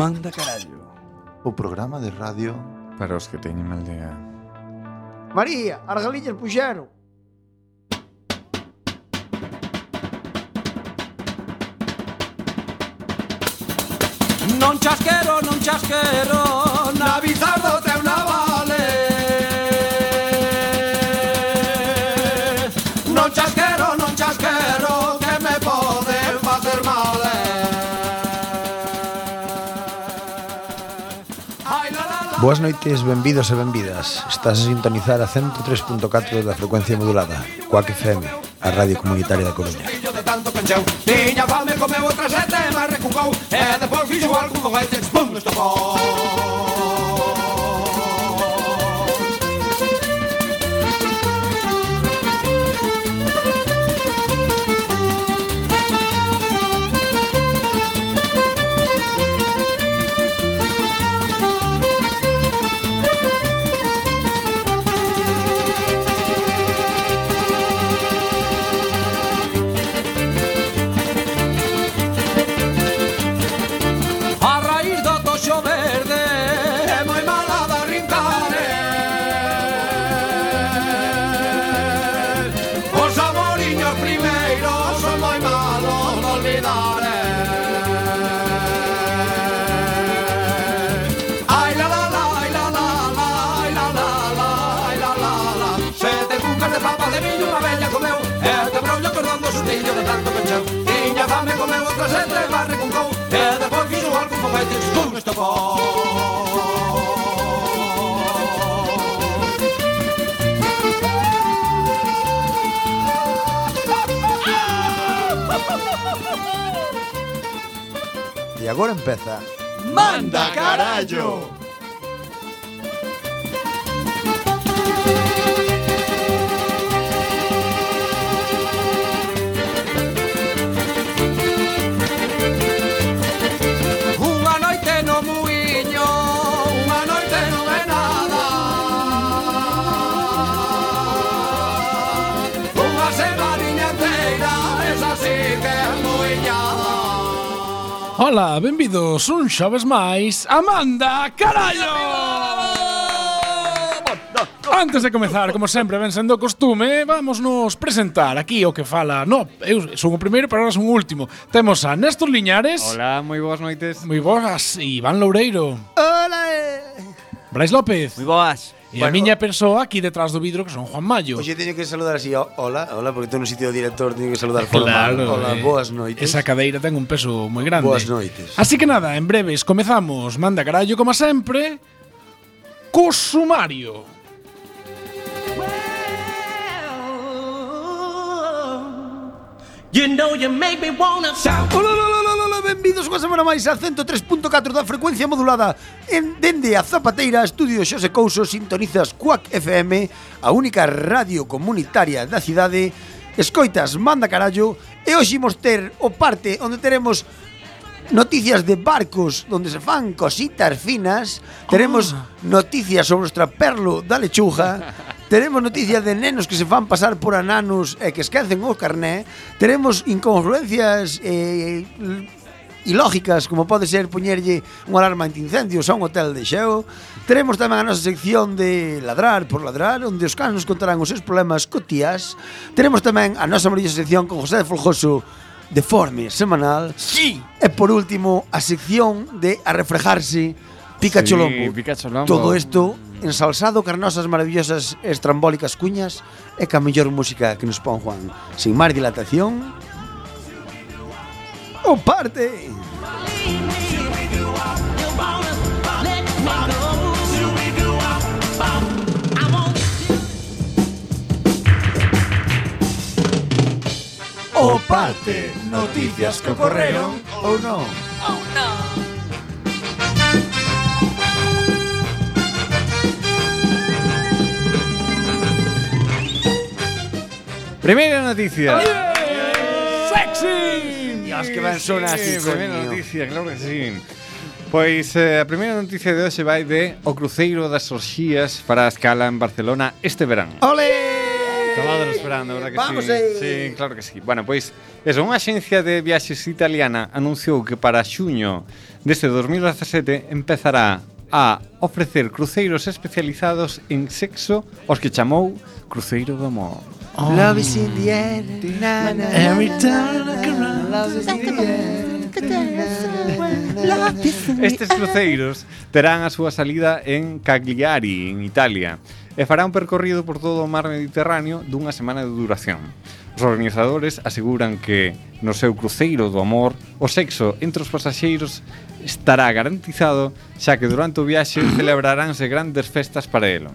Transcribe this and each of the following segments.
Manda carallo. O programa de radio Para os que teñen mal día. María, as galillas puxeron. Non chasquero, non chasquero Na bizardo trae una vale Non chasquero, non chasquero Que me pode facer mal eh. Ai, la, la, la. Boas noites, benvidos e benvidas. Estás a sintonizar a 103.4 da frecuencia modulada, Coac FM, a radio comunitaria da Coruña. Fillo de tanto pencheu Tiña fame, comeu outra sete, mas recucou E depois fixo algún foguete Pum, estopou A raíz do toxo verde É moi mala da rincare Os amoriños primeiros Son moi malos de olvidar eh. Ai la la la, ai la la la Ai la la la, ai la la la Sete cucas de papa de viño Unha bella comeu E te brollo perdón do sustillo de tanto pencheu Tiña fame comeu outra sete Mas recuncou E depois fixo algún foguete Estou estopou E agora empeza ¡Manda carallo! Unha noite no muiño, unha noite non é nada Unha semaninha inteira, esa sí que é muiñada Ola, benvidos un xoves máis a Manda Carallo! Antes de comezar, como sempre, ben sendo costume, vamos nos presentar aquí o que fala. No, eu son o primeiro, pero ahora son o último. Temos a Néstor Liñares. Hola, moi boas noites. Moi boas, Iván Loureiro. Ola, Brais López. boas. E a miña persoa aquí detrás do vidro que son Juan Mayo. Oxe, teño que saludar así, o- hola, hola, porque estou no sitio do director, teño que saludar formal. hola, eh, boas noites. Esa cadeira ten un peso moi grande. Boas noites. Así que nada, en breves comezamos Manda Carallo, como sempre, co sumario. You know you make me wanna shout. ola, ola, ola, ola, benvidos unha semana máis a 103.4 da frecuencia modulada en Dende a Zapateira, Estudio Xose Couso, sintonizas Cuac FM, a única radio comunitaria da cidade, escoitas, manda carallo, e hoxe imos ter o parte onde teremos Noticias de barcos donde se fan cositas finas. Teremos noticias sobre o estraperlo da lechuga. Teremos noticias de nenos que se fan pasar por ananos e que esquecen o carné. Teremos incongruencias eh, l- ilógicas, como pode ser poñerlle unha alarma antiincendios a un hotel de xeo. Teremos tamén a nosa sección de ladrar por ladrar, onde os cans nos contarán os seus problemas cotías. Teremos tamén a nosa maravillosa sección con José de Folgoso de forme semanal. Sí. E por último, a sección de a refrejarse Pikachu Sí, Lombo. Pikachu Lombo. Todo isto ensalzado carnosas maravillosas e estrambólicas cuñas e ca mellor música que nos pon Juan. Sin máis dilatación, o parte. O parte Noticias que ocorreron ou non Primeira noticia. Sexy. Dios, que ben sona así, Sí, primeira coño. noticia, claro que sí. Pois eh, a primeira noticia de hoxe vai de o cruceiro das orxías para a escala en Barcelona este verán. Ole! Estabádelo esperando, verdad que Vamos sí? aí. Sí, claro que sí. Bueno, pois, eso, unha axencia de viaxes italiana anunciou que para este xuño deste 2017 empezará a ofrecer cruceiros especializados en sexo aos que chamou Cruceiro do Amor. Love is in the air. na, na, na, Every na, time na, I come na, Love is in the eh, air. na, na, na. Estes cruceiros terán a súa salida en Cagliari, en Italia, e fará un percorrido por todo o mar Mediterráneo dunha semana de duración. Os organizadores aseguran que no seu cruceiro do amor o sexo entre os pasaxeiros estará garantizado xa que durante o viaxe celebraránse grandes festas para elo.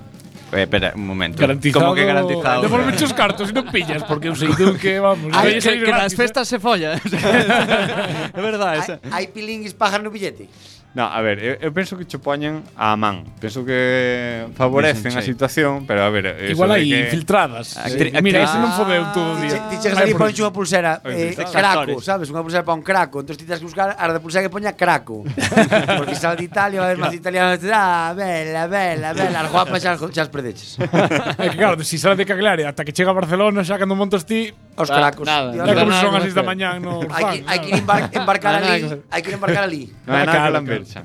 Eh, espera, un momento. Garantizado. Como que garantizado? Devolve os cartos e non pillas, porque eu sei tú que, vamos... vai Ay, que, salir que gratis, nas eh. festas se folla. é verdade. esa. Hai pilinguis pajas no billete. No, a ver, eu, eu penso que cho poñen a man. Penso que favorecen a situación, pero a ver, eso Igual hai de que- infiltradas. Actri- Sí. Mira, actriz- ese non fodeu todo o día. Ti chegas Vai ali e por- ponche unha pulsera eh, Infiltrados. craco, Actores. sabes? Unha pulsera para un craco. Entón ti tens que buscar a da pulsera que poña craco. Porque sal de Italia, vai haber máis italianos. Ah, bela, bela, bela. As guapas xa, xa as perdeches. É que claro, se sale de Cagliari ata que chega a Barcelona, xa cando montas ti, Os Ah, cracos. nada, Tío, ya nada. hai que- como nada son que as seis da ver. mañá no hai que- Hai que ir embar- embarcar Nada ali. que ver. Hai que ir embarcar ali. No Ah, hay nada que claro, plan claro. percha.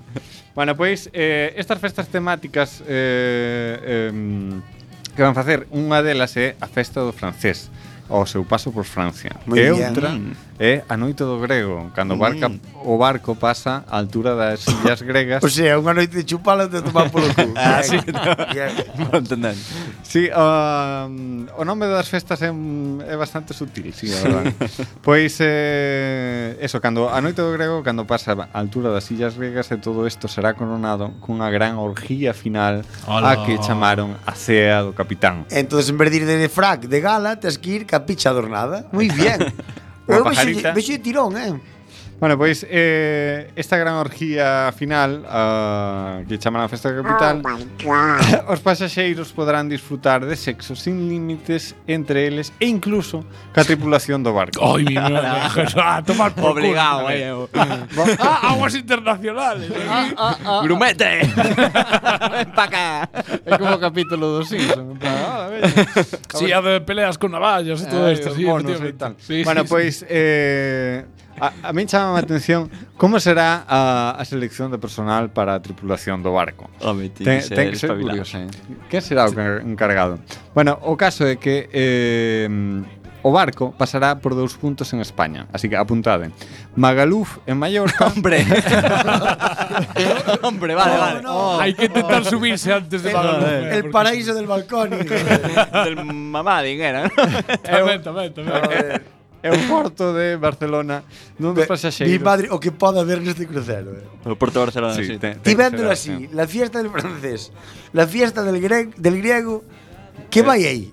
Bueno, pois eh, estas festas temáticas eh, em, que van facer unha delas é a festa do francés ao seu paso por Francia. Moi e bien. Mm. outra é a noite do grego, cando o barca, o barco pasa á altura das illas gregas. O sea, unha noite de chupala de tomar polo cu. Ah, sí. Sí, um, o nome das festas é, un- é bastante sutil, sí, a verdade. pois, eh, eso, cando a noite do grego, cando pasa a altura das illas gregas e todo isto será coronado cunha gran orgía final a que chamaron a cea do capitán. Entón, en vez de ir de frac de gala, tens que ir ca picha adornada. Moi bien. Unha Eu pajarita. vexo vexo de tirón, eh. Bueno, pois, eh, esta gran orgía final ah, que chaman a festa do capitán Os pasaxeiros poderán disfrutar de sexo sin límites entre eles e incluso ca tripulación do barco. Ai, mi madre, a tomar por culo. Obligado, eh. aí. eu. Ah, aguas internacionales. Ah, ah, ah. Grumete. Ven pa cá. É como o capítulo dos Simpsons. en plan, "Ah, veña". Sí, a de peleas con navallas e todo Ai, esto, os sí, monos e efectivamente. tal. Sí, bueno, sí, pois eh, a, a min chama a atención como será a, a selección de personal para a tripulación do barco. Home, ti Ten, ten que ser curioso, eh. Que será o car- encargado? Bueno, o caso é que eh, o barco pasará por dous puntos en España, así que apuntade. Magaluf en Mallorca. Hombre. Hombre, vale, vale. Oh, Hai que intentar subirse antes de Badalona. Eh, El paraíso del balcón. Del mamadín era. Tamén, tamén, tamén. É o porto de Barcelona, non dos Mi pasaxeiros. madre, o que pode haber neste crucero. Eh. O Porto de Barcelona, sí. ten- ten que Y ser véndolo así, la fiesta del francés, la fiesta del, gre- del griego, ¿qué va ahí?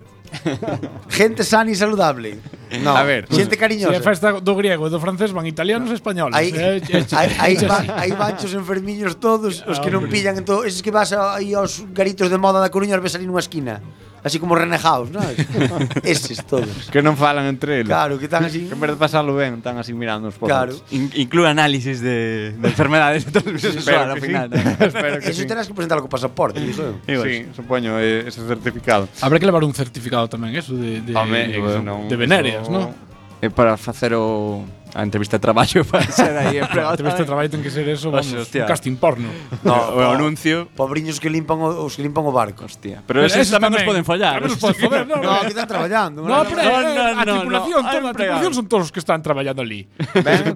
Gente sana y saludable. No, A ver, gente Si a cariñosa. festa do griego e do francés van italianos e españoles. Aí, eh, eh, aí, aí, va, aí vanchos enfermiños todos Os que non pillan en todo Esos que vas a- aí aos garitos de moda da Coruña Os ves ali nunha esquina Así como renejaos, non? Eses todos Que non falan entre eles. Claro, que están así Que en vez de pasalo ben, están así mirando os pozos. Claro In- inclúe análisis de, de enfermedades de transmisión sexual, Espero al que final. sí. Espero que Eso sí. terás que presentar co pasaporte digo eu. Sí, supoño, eh, ese certificado. Habrá que levar un certificado tamén, eso, de, de, Home, é que Ah, senón de venerias, eso- non? É para facer o a entrevista de traballo para ser aí empregado. Te ves este traballo ten que ser eso, vamos, Oxe, un hostia. casting porno. No, o anuncio. Pobriños que limpan o, os que limpan o barco Hostia. Pero, esos tamén nos poden fallar. Tamén nos poden foder, non, No, non. que están traballando No, pero No, eh, no, a no, tripulación, toda a no, empleado. tripulación son todos os que están traballando ali. Ben,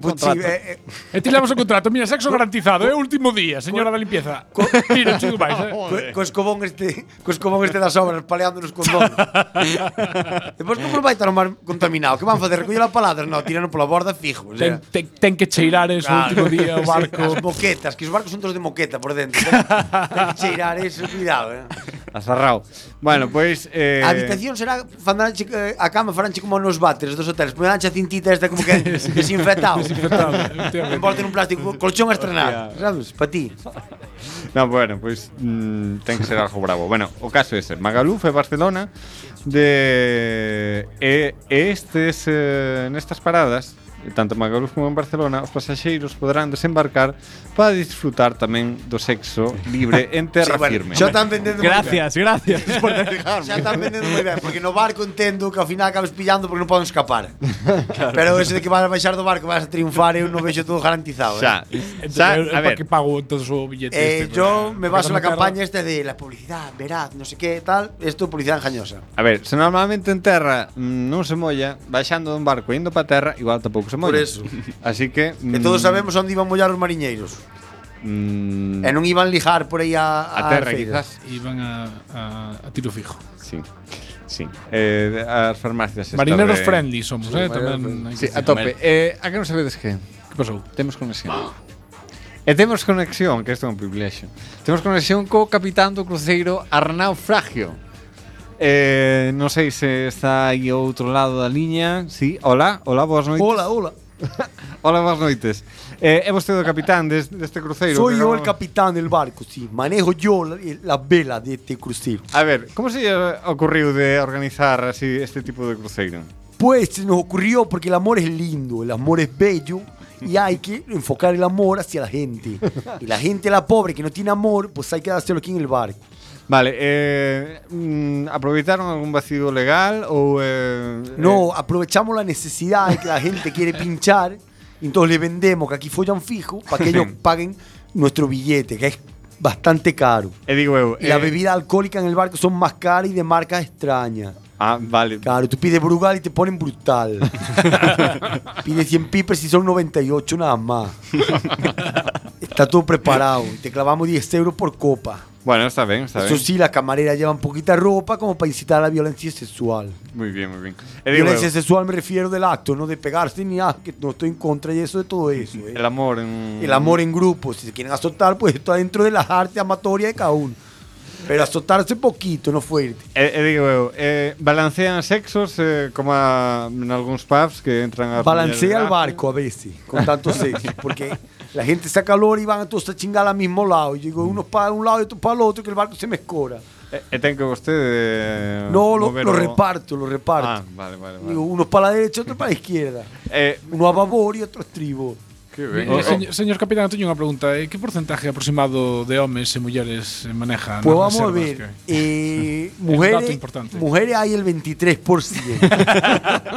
Que contrato. puchi- eh, eh, E ti levas o contrato, mira, sexo garantizado, é o último día, señora da limpieza. Mira, chico, vais, eh. Co, co escobón este, co escobón este das obras paleando nos condones. Depois como vai estar o mar contaminado? Que van facer? Recoller a paladra? No, tirano pola borda fijo. O Ten, sea, ten, ten que cheirar eso o último día o barco. As moquetas, que os barcos son todos de moqueta por dentro. Ten, ten que cheirar eso, cuidado. Eh. Azarrao. Bueno, pois... Eh, A habitación será fandanche, eh, a cama faranche como nos váteres dos hoteles. Poñanche a cintita esta como que desinfectado. Desinfectado, efectivamente. Envolta nun plástico, colchón a estrenar. Sabes? Pa ti. No, bueno, pois mm, ten que ser algo bravo. Bueno, o caso ese. Magaluf e Barcelona este de e, e estes eh, nestas paradas E tanto en Magalos como en Barcelona, os pasaxeiros poderán desembarcar para disfrutar tamén do sexo libre en terra bueno, firme. xa están vendendo moi ben. Gracias, gracias por Xa dejarme. están vendendo moi ben, porque no barco entendo que ao final acabes pillando porque non poden escapar. Pero ese de que vas a baixar do barco vas a triunfar, eu non vexo todo garantizado. Xa, Eh. xa, Entonces, a ¿Para ver, qué pago entonces su billete? Eh, este? yo me Porque baso en la cuando me campaña esta de la publicidad, veraz, no sé qué, tal. Esto é publicidad engañosa. a ver, se normalmente en terra mm, non se molla, baixando dun barco e indo para terra, igual tampouco se molla. Por eso. Así que... Que mm, todos sabemos onde iban mollar os mariñeiros. mm, E non iban lijar por aí a, a terra, feira. quizás. Iban a, a, a tiro fijo. Sí, sí. Eh, as farmacias... estas Marineros de- friendly somos, ¿eh? También hay que Sí, a decir. tope. Oh, Eh, a que non sabedes que? ¿Qué pasó? Temos conexión. E temos conexión, que isto é un privilexio. Temos conexión co capitán do cruceiro Arnau Fragio. Eh, non sei se está aí ao outro lado da liña. Sí, hola, hola, boas noites. Hola, hola. Hola, boas noites. Eh, é vostede o capitán des, deste cruceiro? Soy que yo el acabamos- capitán del barco, sí. Manejo yo la, la vela de este crucero. A ver, como se lle ocorreu de organizar así este tipo de cruceiro? Pues se nos ocurrió porque el amor es lindo, el amor es bello y hay que enfocar el amor hacia la gente. Y la gente, la pobre, que no tiene amor, pues hay que dárselo aquí en el barco. Vale, eh, mm, aproveitaron algún vacío legal ou... Eh, No, aprovechamos la necesidad de que la gente quiere pinchar, y entonces le vendemos que aquí follan fijo para que ellos Sí. paguen nuestro billete, que es bastante caro. eh, e digo eu... Y las eh, bebidas alcohólicas en el barco son más caras y de marcas extrañas. Ah, vale. Claro, tú pides Brugal y te ponen brutal. Pides 100 pipers y son 98 nada más. Está todo preparado. y Te clavamos 10 euros por copa. Bueno, está bien, está Eso bien. sí, la camarera llevan poquita ropa como para incitar a la violencia sexual. Muy bien, muy bien. Eh, digo, Violencia eh, sexual me refiero del acto, no de pegarse ni nada, que no estoy en contra de eso, de todo eso. ¿eh? el amor en... El amor en grupo, si se quieren azotar, pues está dentro de las artes amatorias de cada uno. Pero azotarse poquito, no fuerte. Eh, eh, digo, eu, eh, balancean sexos eh, como a, en algunos pubs que entran a... Balancea el barco a veces, con tanto sexo, porque la gente saca calor y van a todos a chingar al mismo lado. Y Mm. digo, uno para un lado y otro para el otro, que el barco se me escora. Eh, eh, ten que usted... eh, No, lo, mover lo o- reparto, lo reparto. Ah, vale, vale, vale. Digo, uno para la derecha, otro para la izquierda. Eh, Uno a babor y otro a estribor. que Eh, ben. eh, señor, señor capitán, teño unha pregunta. Eh, que porcentaje aproximado de homes e mulleres eh, manejan? Pues as vamos a ver, reservas eh, que- Es un dato mujeres, importante. mujeres hay el 23%,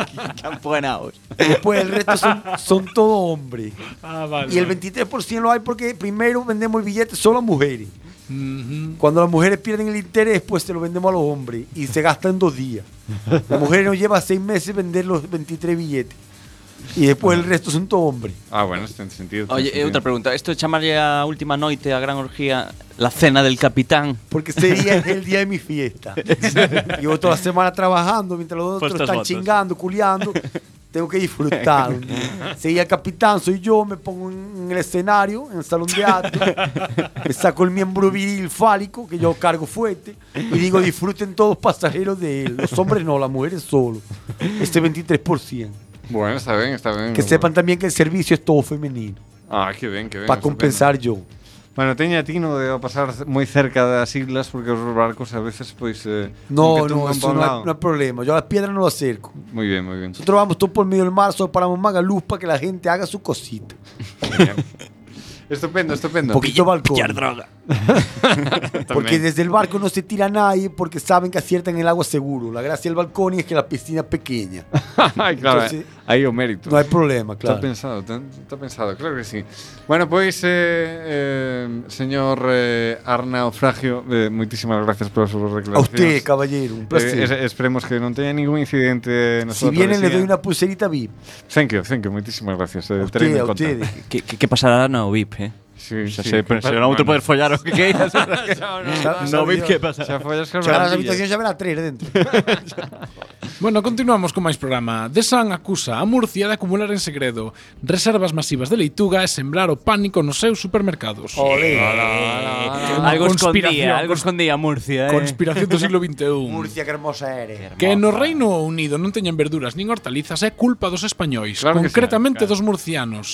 ¿eh? Campoenaos. después el resto son, son todo hombres. Ah, vale. Y el 23% lo hay porque primero vendemos el billete solo a mujeres. Mhm. Cuando las mujeres pierden el interés, pues se lo vendemos a los hombres y se gasta en dos días. La mujer nos lleva seis meses vender los 23 billetes. Y después el resto son todos hombres. Ah, bueno, está en sentido. ten Oye, e sentido. outra pregunta. Isto de chamarlle a última noite, a gran orgía, la cena del capitán. Porque ese día es el día de mi fiesta. Llevo toda la semana trabajando mientras los Puestos otros están votos. chingando, culiando. Tengo que disfrutar. un día. Ese día el capitán soy yo, me pongo en en el escenario, en el salón de arte. Me saco el miembro viril fálico, que yo cargo fuerte. Y digo, disfruten todos pasajeros de él. Los hombres no, las mujeres solo. Este 23%. Bueno, está bien, está bien. Que sepan también que el servicio es todo femenino. Ah, que ben, que ben. Para está compensar yo. ben. Bueno, teña tino de pasar moi cerca das islas porque os barcos a veces, pois... Eh, No, aunque no, tungan pa eso un no hay, lado. no hay problema. Yo a las piedras no lo acerco. Moi ben, moi ben. Nosotros vamos todo por medio del mar, solo paramos Magaluz para que la gente haga su cosita. Estupendo, estupendo. Un poquito balcón. droga. Porque desde el barco no se tira nadie porque saben que aciertan en el agua seguro. La gracia del balcón es que la piscina es pequeña. Ay, claro, eh, Entonces- aí o mérito. No hay problema, Está claro. pensado, está- está pensado, claro que sí. Bueno, pois, eh, eh, señor eh, Arnao Fragio, eh, moitísimas gracias polas súas A declaracións. usted, caballero, un placer. Eh, es- esperemos que non teña ningún incidente na si súa vienen le travesía. doy una pulserita VIP. Thank you, thank you, moitísimas gracias. Eh, A tenéme usted, en a conta. ustedes. Que, que, que pasará no VIP, eh? Sí, Xa sí. sei, pero será outro poder follar o que queiras. No vi que pasa. Xa follas con Llegar a la barandilla. habitación ya verá tres dentro. Bueno, continuamos con máis programa. Desan acusa a Murcia de acumular en segredo reservas masivas de leituga e sembrar o pánico nos seus supermercados. Eh, algo Conspiración, escondía, algo cons- escondía Murcia, eh? Conspiración do siglo XXI. Murcia, qué hermosa eres. Que no Reino Unido non teñan verduras nin hortalizas é culpa dos españois, Claro que concretamente sí, claro. dos murcianos.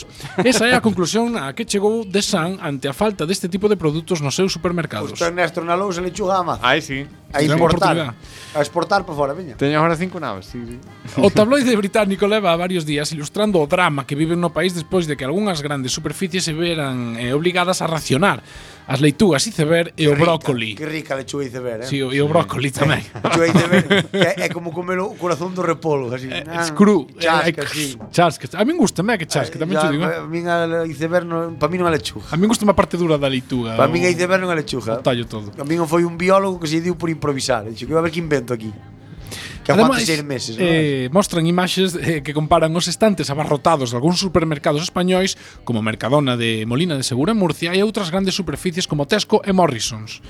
Esa é a conclusión a que chegou De San ante a falta deste tipo de produtos nos seus supermercados. Usted Néstor Nalou se lechuga más. Ai, sí. a Gran importar. oportunidade. A exportar para fora, veña. Teño agora cinco naves, sí, sí. O tabloide británico leva varios días ilustrando o drama que viven no país despois de que algunhas grandes superficies se veran eh, obligadas a racionar as leitugas iceberg e o brócoli. Que rica lechuga iceberg, eh? Sí, o- e o brócoli tamén. Lechuga iceberg, que é- é como comer o corazón do repolo, así. Ah, Es cru. Chasca, eh, sí. Chasca. A min gusta, me que chasca, tamén Ya, te digo. eh. A min a iceberg, non- pa min non é lechuga. A min gusta a parte dura da leituga. Para min a o- iceberg non é lechuga. o tallo todo. A min foi un biólogo que se dio por improvisar. Dixo que iba a ver que invento aquí. Que aguante seis meses, non? eh, mostran imaxes eh, que comparan os estantes abarrotados de algúns supermercados españois como Mercadona de Molina de Segura en Murcia e outras grandes superficies como Tesco e Morrisons.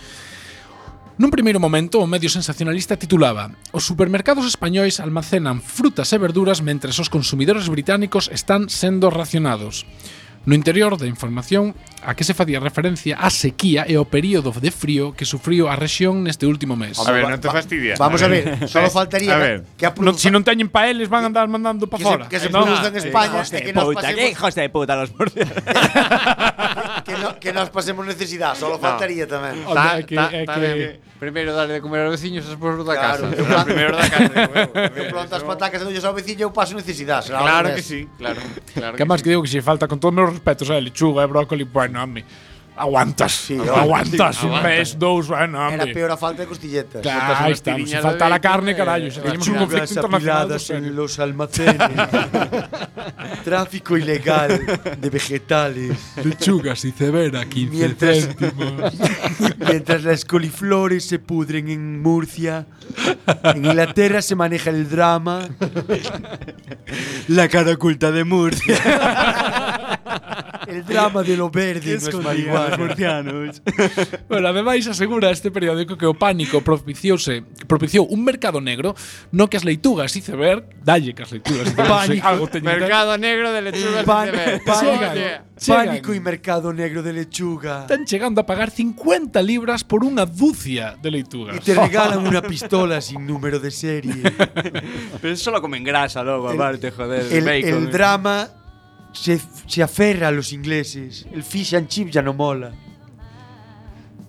Nun primeiro momento, o medio sensacionalista titulaba Os supermercados españois almacenan frutas e verduras mentres os consumidores británicos están sendo racionados. No interior da información, a que se facía referencia a sequía e o período de frío que sufriu a rexión neste último mes. A ver, non te fastidia. Vamos a eh, ver, solo Ves, faltaría A ver. que a No, produza- si non teñen pa eles van andar mandando pa que fora. se, que se Eh, non? produza en España e que nos Puta, que pasemos, hijos de puta los murcianos. que, no- que nos pasemos necesidad, solo faltaría tamén. O sea, Ta, que- ta, é ta, que- de- Primeiro darle de comer aos veciños e despois os da Claro, casa. eu plan- Primeiro da casa. huevo. Eu planto as patacas e doulles ao veciño eu paso necesidad. será ao revés. Claro que sí, claro. claro Que máis que digo que se falta con todos meus respetos, eh, lechuga, eh, brócoli, bueno, home. Aguantas, aguantas sí, un aguanta. mes, dous, bueno, Era home. peor a falta de costilletas. Claro, ahí estamos. Se tiriñas falta de la carne, bacon, carallo. eh, Se tenemos un conflicto internacional. do serio. los almacenes. Tráfico ilegal de vegetales. Lechugas y cebera, 15 Mientras- céntimos. Mientras las coliflores se pudren en Murcia, en Inglaterra se maneja el drama. La cara oculta de Murcia. El drama de lo verde no es marihuana. murcianos. Bueno, ademais asegura este periódico que o pánico propiciouse, propiciou un mercado negro no que as leitugas iceberg, dalle que as leitugas iceberg, Pánico. algo teñen que ter. Mercado negro de lechugas Pan- de Tebet. pan- Oye, Llegan. Pánico y mercado negro de lechuga. están chegando a pagar 50 libras por unha ducia de Y leitugas. te regalan una pistola sin número de serie. Pero eso solo comen grasa luego, aparte, joder. El, bacon. eh. el drama se, se aferra a los ingleses. El fish and chip ya no mola.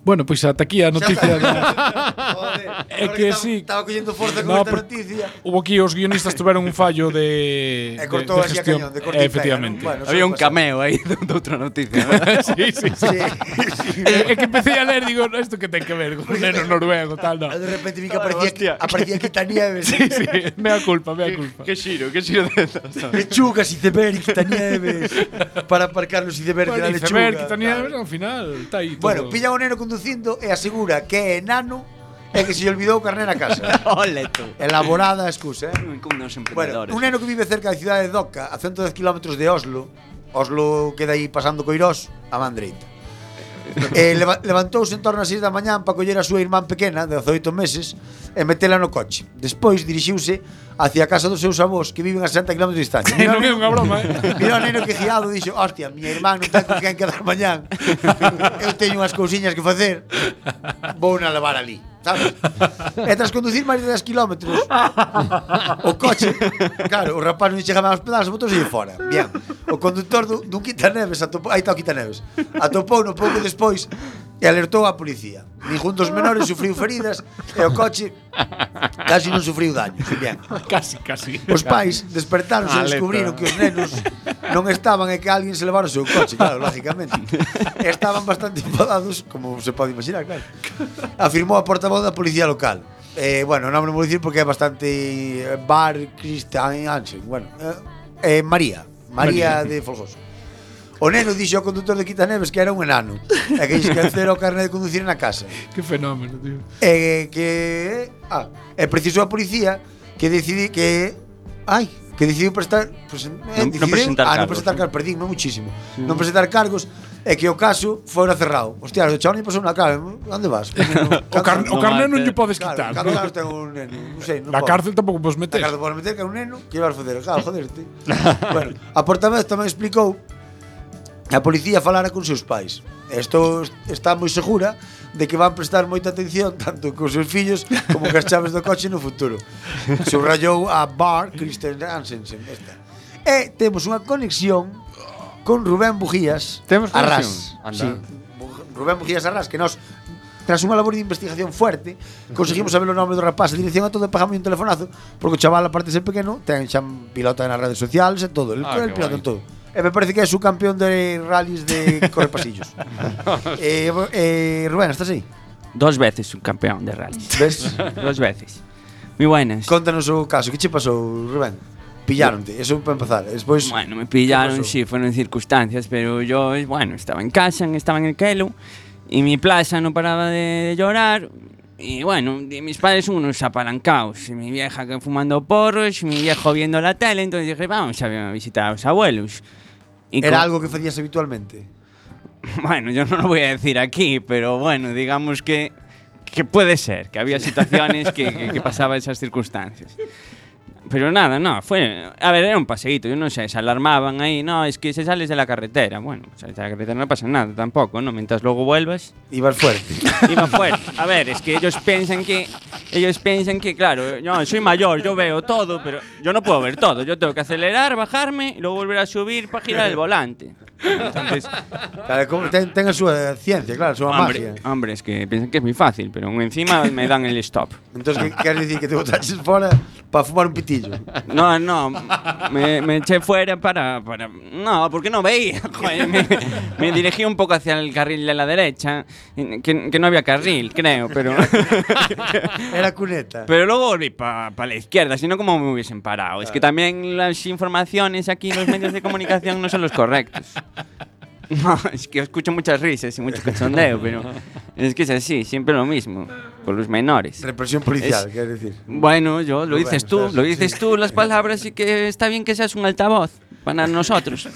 Bueno, pois ata aquí a noticia. de... Joder, É agora que estaba- sí. Estaba collendo forza con No, esta por- noticia. Hubo aquí os guionistas tiveron un fallo de eh, E cortou de, de así a gestión. cañón, de corta y pega, Efectivamente. ¿no? Bueno, Había un pasa. cameo ahí de, de otra noticia, ¿verdad? sí, sí, sí. Sí. É que empecé a ler, digo, "No, isto que ten que ver con neno noruego, tal, no. De repente vi que aparecía, aparecía Quitanieves. Sí, sí, mea culpa, mea culpa. Qué giro, qué giro de estas. Lechugas, iceberg, quitanieves. Para aparcar los iceberg Bueno, de la dice, ver, lechuga. Quitanieves, ao final, está aí todo. Bueno, pilla o neno conducindo e asegura que é enano e que se lle olvidou o carné na casa. Ole tú. Elaborada a excusa, eh? Con unos Bueno, emprendedores. un neno que vive cerca da cidade de Doca, a 110 km de Oslo, Oslo queda aí pasando Coirós, a man dereita. eh, leva, levantouse en torno ás 6 da mañán para coller a súa irmán pequena, de 18 meses, e metela no coche. Despois dirixiuse hacia a casa dos seus avós, que viven a 60 km de distancia. Eh, non é unha broma, eh. Mira o neno que giado dixo Hostia, miña irmán non ten con quen quedar mañán Eu teño unhas cousiñas que facer Vou na levar ali Sabes? E tras conducir máis de 10 kilómetros O coche Claro, o rapaz non lle chegaba aos pedales Botouse lle fora Bien O conductor dun, dun quitaneves atopou, Aí está o quitaneves Atopou no pouco despois E alertou a policía Ningún dos menores sufriu feridas E o coche Casi non sufriu daños Bien Casi, casi. Os pais despertaronse e Alerta. descubriron que os nenos non estaban e que alguén se levara o seu coche, claro, lógicamente. E Estaban bastante enfadados, como se pode imaginar, claro. Afirmou a portavoz da policía local. Eh, bueno, non me vou dicir porque é bastante eh, Bar Christian Hansen, bueno, eh, eh, María, María de Folgoso. O neno dixo ao conductor de Quitaneves que era un enano E que esquecera o carnet de conducir na casa Qué fenómeno, tío. E que ah, e precisou a policía que decidi que ai, que decidiu prestar presen, eh, Non- non decidiu- presentar ah, non cargos, Mm. presentar cargos, perdín, non muchísimo. Non presentar cargos e que o caso fora cerrado. Hostia, o chaval lle pasou unha cara, onde vas? O, car o No carné non mate. lle podes claro, quitar. claro, ¿no? claro, ten un neno, non sei, non Na podo. cárcel pues, tampouco podes Te meter. acabas por meter que é un neno que ibas facer, claro, joderte. bueno, a portavoz tamén explicou que a policía falara con seus pais. Estou está moi segura de que van prestar moita atención tanto cos seus fillos como cas chaves do coche no futuro. Subrayou a Bar Christian Hansen esta. E temos unha conexión con Rubén Bujías Temos conexión? Arras. Anda. Sí. Rubén Bujías Arras que nós Tras unha labor de investigación fuerte, conseguimos saber o nome do rapaz e dirección a todo e pagamos un telefonazo, porque o chaval, aparte de ser pequeno, ten xa pilota nas redes sociales e todo, el, Ah, el qué pilota guai. en todo. E me parece que é su campeón de rallies de correpasillos. eh, bo- eh, Rubén, estás aí? Dos veces un campeón de rally. Ves? Dos veces. Muy buenas. Contanos o caso, que che pasou, Rubén? Pillaronte, eso para empezar. Despois, Bueno, me pillaron, pasó? sí, fueron circunstancias, pero yo, bueno, estaba en casa, estaba en el Kelo, y mi plaza no paraba de, de llorar. Y bueno, de mis padres unos apalancados, y mi vieja que fumando porros, y mi viejo viendo la tele, entonces dije, vamos a visitar a los abuelos. Y era co- algo que facías habitualmente. Bueno, yo no lo voy a decir aquí, pero bueno, digamos que, que puede ser, que había situaciones que, que, que pasaba esas circunstancias. Pero nada, no, fue. A ver, era un paseíto, yo no sé, se alarmaban ahí, no, es que se sales de la carretera. Bueno, sales de la carretera no pasa nada tampoco, ¿no? Mientras luego vuelvas. Ibas fuerte. Iba fuera. A ver, es que ellos piensan que. Ellos piensan que, claro, yo soy mayor, yo veo todo, pero yo no puedo ver todo. Yo tengo que acelerar, bajarme, y luego volver a subir para girar el volante. Entonces. Claro, como ten, ten a súa ciencia, claro, a súa Hombre, magia. hombre, es que piensan que es muy fácil, pero aún encima me dan el stop. Entón, que queres dicir que te botaches fora para fumar un pitillo? No, no, me, me eché fuera para, para- No, porque no veía. joder, me, me dirigí un poco hacia el carril de la derecha, que, que no había carril, creo, pero... Era cuneta. Pero luego volví para la izquierda, si no, ¿cómo me hubiesen parado? Es que también las informaciones aquí en los medios de comunicación no son los correctos. No, es que escucho muchas risas y mucho cachondeo, pero es que es así, siempre lo mismo, con los menores. Represión policial, Es- queres dicir. Bueno, yo lo Bueno, dices o tú, sea, lo sí. dices tú las palabras y que está bien que seas un altavoz para nosotros.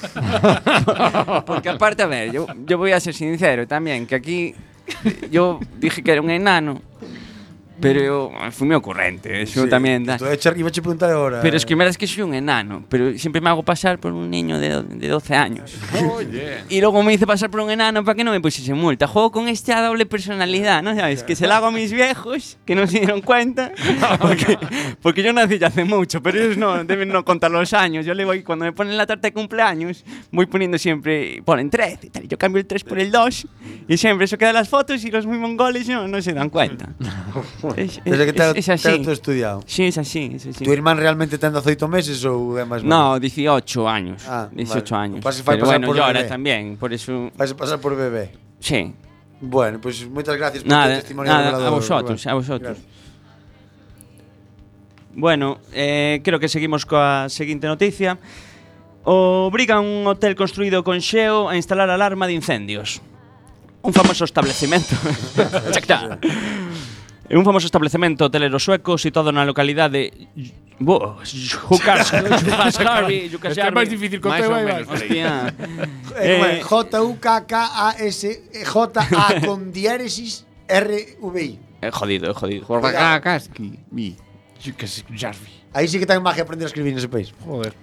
Porque aparte, a ver, yo, yo voy a ser sincero también, que aquí yo dije que era un enano, pero fui muy ocurrente, eso también da. Tú echar, iba a preguntar ahora. Pero es que mira, es que soy un enano, pero siempre me hago pasar por un niño de, do- de 12 años. Y luego me hice pasar por un enano para que no me pusiese multa. Juego con esta doble personalidad, ¿no? ¿Sabes? Que se la hago a mis viejos, que no se dieron cuenta. Porque, porque yo nací ya hace mucho, pero ellos no deben no contar los años. Yo le voy, cuando me ponen la tarta de cumpleaños, voy poniendo siempre, ponen 3 y tal. Yo cambio el 3 por el 2 y siempre eso queda en las fotos y los muy mongoles no, no se dan cuenta. Es, Desde que te, es- es te así. has estudiado. Sí, es así, es así. Tu irmán realmente ten 18 meses ou é máis No, 18 años. Ah, 18 vale. años. Pasa- fai Pero pasar bueno, por yo ahora bebé. también, por eso. Vas a pasar por bebé. Sí. Bueno, pois pues, moitas gracias por Nada, tu testimonio nada, revelador, a vosotros, Rubén. a vosotros. Gracias. Bueno, eh, creo que seguimos coa seguinte noticia. Obriga un hotel construído con xeo a instalar alarma de incendios. Un famoso establecemento. Xa está. Un famoso establecemento hotelero sueco situado na localidade de Jukasjärvi. Este é máis difícil que o teu, aí vai. Hostia. Eh, Eh, bueno, J-U-K-K-A-S J-A eh, con diéresis R-V-I. eh, jodido, eh, jodido. Aí sí que ten magia aprender a escribir nese país. Joder.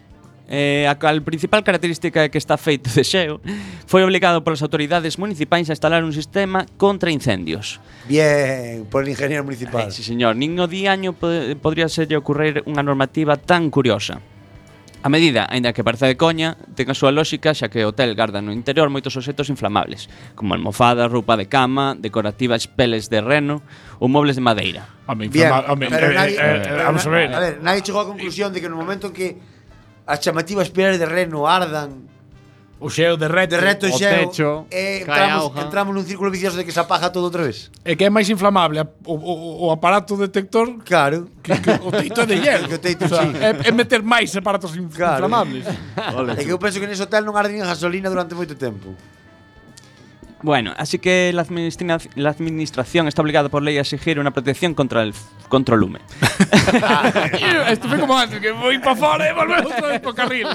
Eh, a cal principal característica é que está feito de xeo foi obligado polas autoridades municipais a instalar un sistema contra incendios. Bien, por el ingeniero municipal. Ai, sí, señor, nin no día año po- podría serlle ocurrir unha normativa tan curiosa. A medida, aínda que parece de coña, ten a súa lógica xa que o hotel garda no interior moitos objetos inflamables, como almofadas, roupa de cama, decorativas peles de reno ou mobles de madeira. Home, Bien, informa- home, pero eh, nadie- eh, eh, pero vamos a na- ver. A ver, nadie llegó a la conclusión de que en el momento en que las chamativas piedras de reno ardan, O xeo de reto. de reto y O xeo, techo, eh, cae entramos, auga. entramos en un círculo vicioso de que se apaga todo otra vez. É que é máis inflamable a- o, o, o aparato detector Claro. que, que o teito de hielo. Que o teito, sí. é, é meter máis aparatos inf- Claro. inflamables. É que eu penso que nese hotel non arden a gasolina durante moito tempo. Bueno, así que la, administra- la administración está obligada por ley a exigir una protección contra el f- contra o lume. Isto foi como antes, que foi para fora e volvemos outra vez pro carril.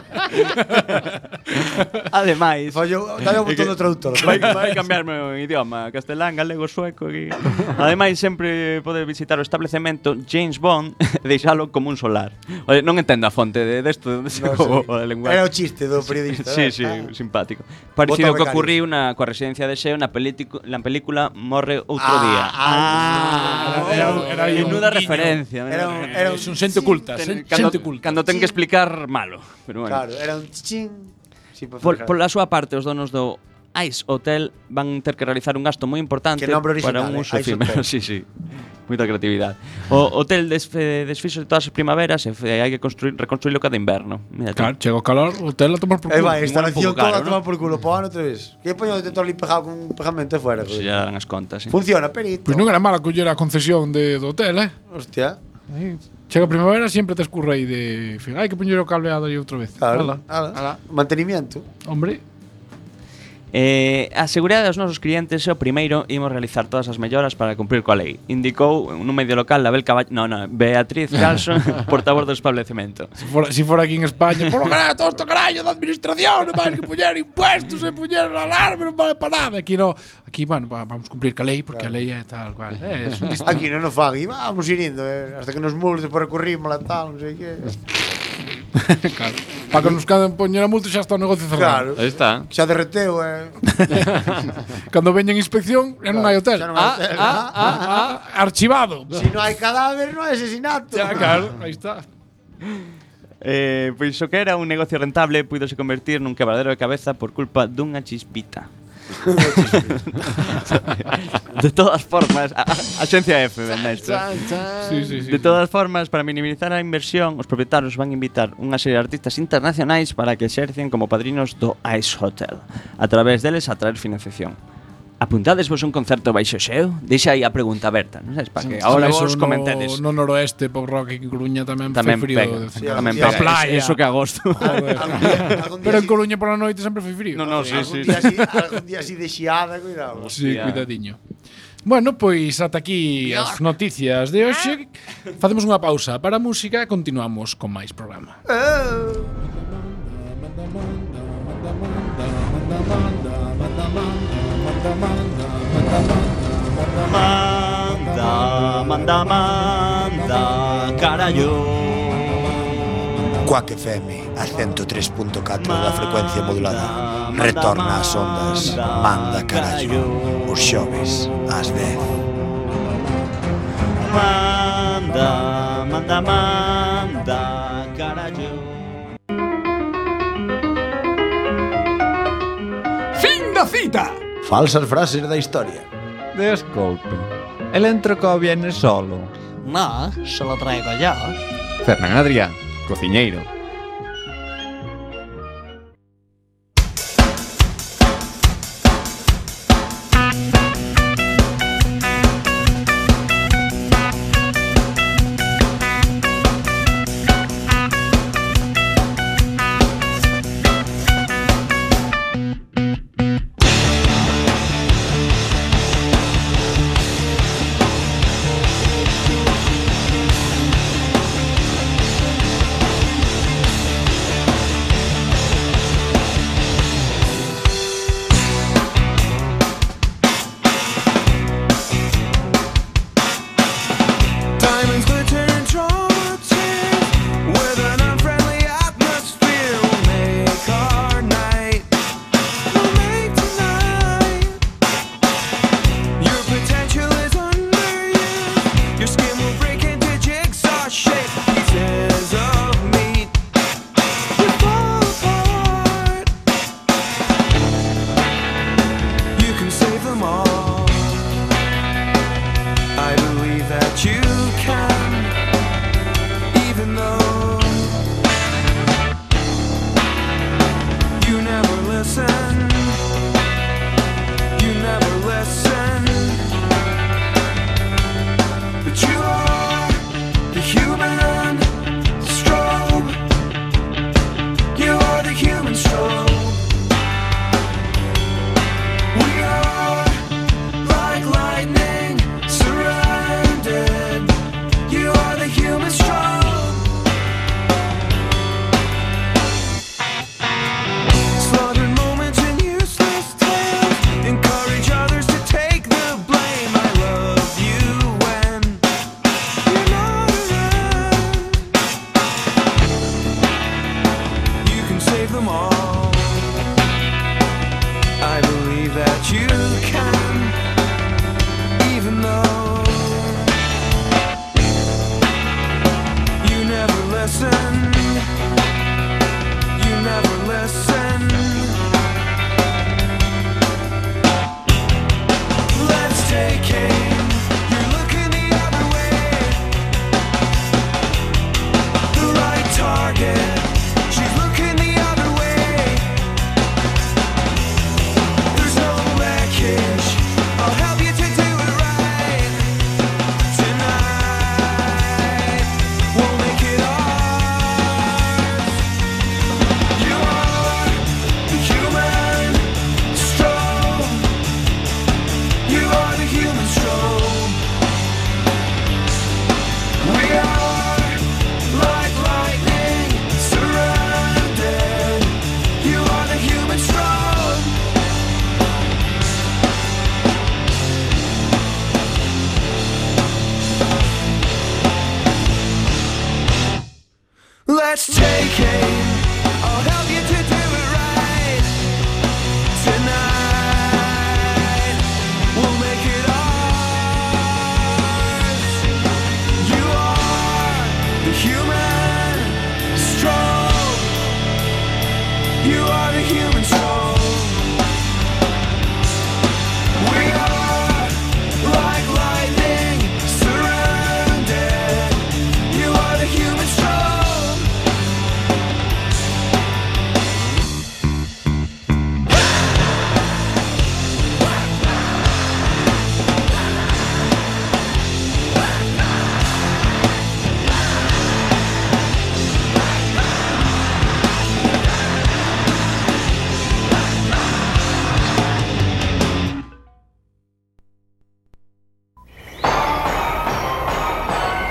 Ademais, Fallo, dale un botón do traductor. vai, vai cambiarme o idioma, castelán, galego, sueco e Ademais sempre pode visitar o establecemento James Bond e deixalo como un solar. Oye, non entendo a fonte de desto, de onde No, sacou sí. a Era lenguaje. o chiste do periodista. Sí, ¿verdad? sí, Ah. simpático. Parecido Bota que becarios. ocurriu na coa residencia de Xeo na, película, na película Morre outro Ah, día. ah, era- era un- era un menuda guiño. referencia. menuda Era un, era un Son xente oculta, sen- Ten- cando, xente oculta. cando ten que explicar malo, pero bueno. Claro, era un chin. Sí, por Por, favor. pola súa parte, os donos do Ice Hotel van ter que realizar un gasto moi importante Que nombre para original, un eh, uso Ice efímero. Hotel. Sí, sí. Moita creatividade. O hotel desfe, desfixo de todas as primaveras e fe- hai que construir, reconstruirlo cada inverno. Mira, tú. Claro, chega o calor, o hotel a tomar por Ahí culo. va, instalación un poco caro, toda ¿no? toma por culo. Pagan otra vez. ¿Qué poño de todo pegado con un pegamento de fuera? Se joder? Pues ya darán as contas. Eh. Funciona, perito. Pois non era mala coller a concesión de, do hotel, eh? Hostia. Chega a primavera sempre te escurre aí de... Fin, hai que poñer o cable aí outra vez. Claro. Ala, ala. Mantenimiento. Hombre, Eh, a seguridade dos nosos clientes é o primeiro imos realizar todas as melloras para cumprir coa lei. Indicou nun medio local Label Caballo... No, no, Beatriz Carlson, portavoz do establecemento. se fora, si fora aquí en España, por lo cara, todo esto carallo da administración, non vais que poñer impuestos e poñer alarme, non vale para nada. Aquí no, aquí, bueno, va- vamos cumplir ca lei, porque a lei é tal cual. Eh, es un dis- Aquí no nos fan. Y vamos hiriendo, eh, hasta que nos multen por recurrimos la tal, no sé qué. claro. Para que nos caden poñer a multa xa está o negocio cerrado. Claro. Ahí está. Xa derreteu, eh. Cando veñen inspección, ya non hai hotel. Xa non hai Ah, hotel. ah, ah, ah, archivado. Si no hay cadáver, no hay asesinato. Ya, claro, aí está. Eh, pois o que era un negocio rentable puidose convertir nun quebradero de cabeza por culpa dunha chispita. de todas formas, a, a- Axencia F, venda isto. Sí, sí, sí. De todas formas, para minimizar a inversión, os propietarios van invitar unha serie de artistas internacionais para que exercen como padrinos do Ice Hotel. A través deles atraer financiación. Apuntades vos un concerto baixo xeo? Deixa aí a pregunta aberta, non sabes? Para que ahora Eso vos comentedes. No, no noroeste, pop rock en Coruña tamén, Tamén foi frío. pega, de vez en Sí, cando. tamén sí, pega. sí. Playa. Eso que agosto. Algún día- algún día Pero en sí- Coruña pola noite sempre foi frío. no, no, sí, algún sí. día sí- algún día así de xiada, cuidado. Sí, cuidadiño. Bueno, pois ata aquí as noticias de hoxe. Facemos unha pausa para a música e continuamos con máis programa. Manda, manda, manda, carallo. Quack FM, a 103.4 da frecuencia modulada. Retorna ás ondas, manda carallo, os xoves ás 10. Manda, manda, manda, carallo. Falsas frases da historia. Desculpe. El entrecó viene solo. No, se lo traigo yo. Fernán Adrián, cociñeiro. Manda,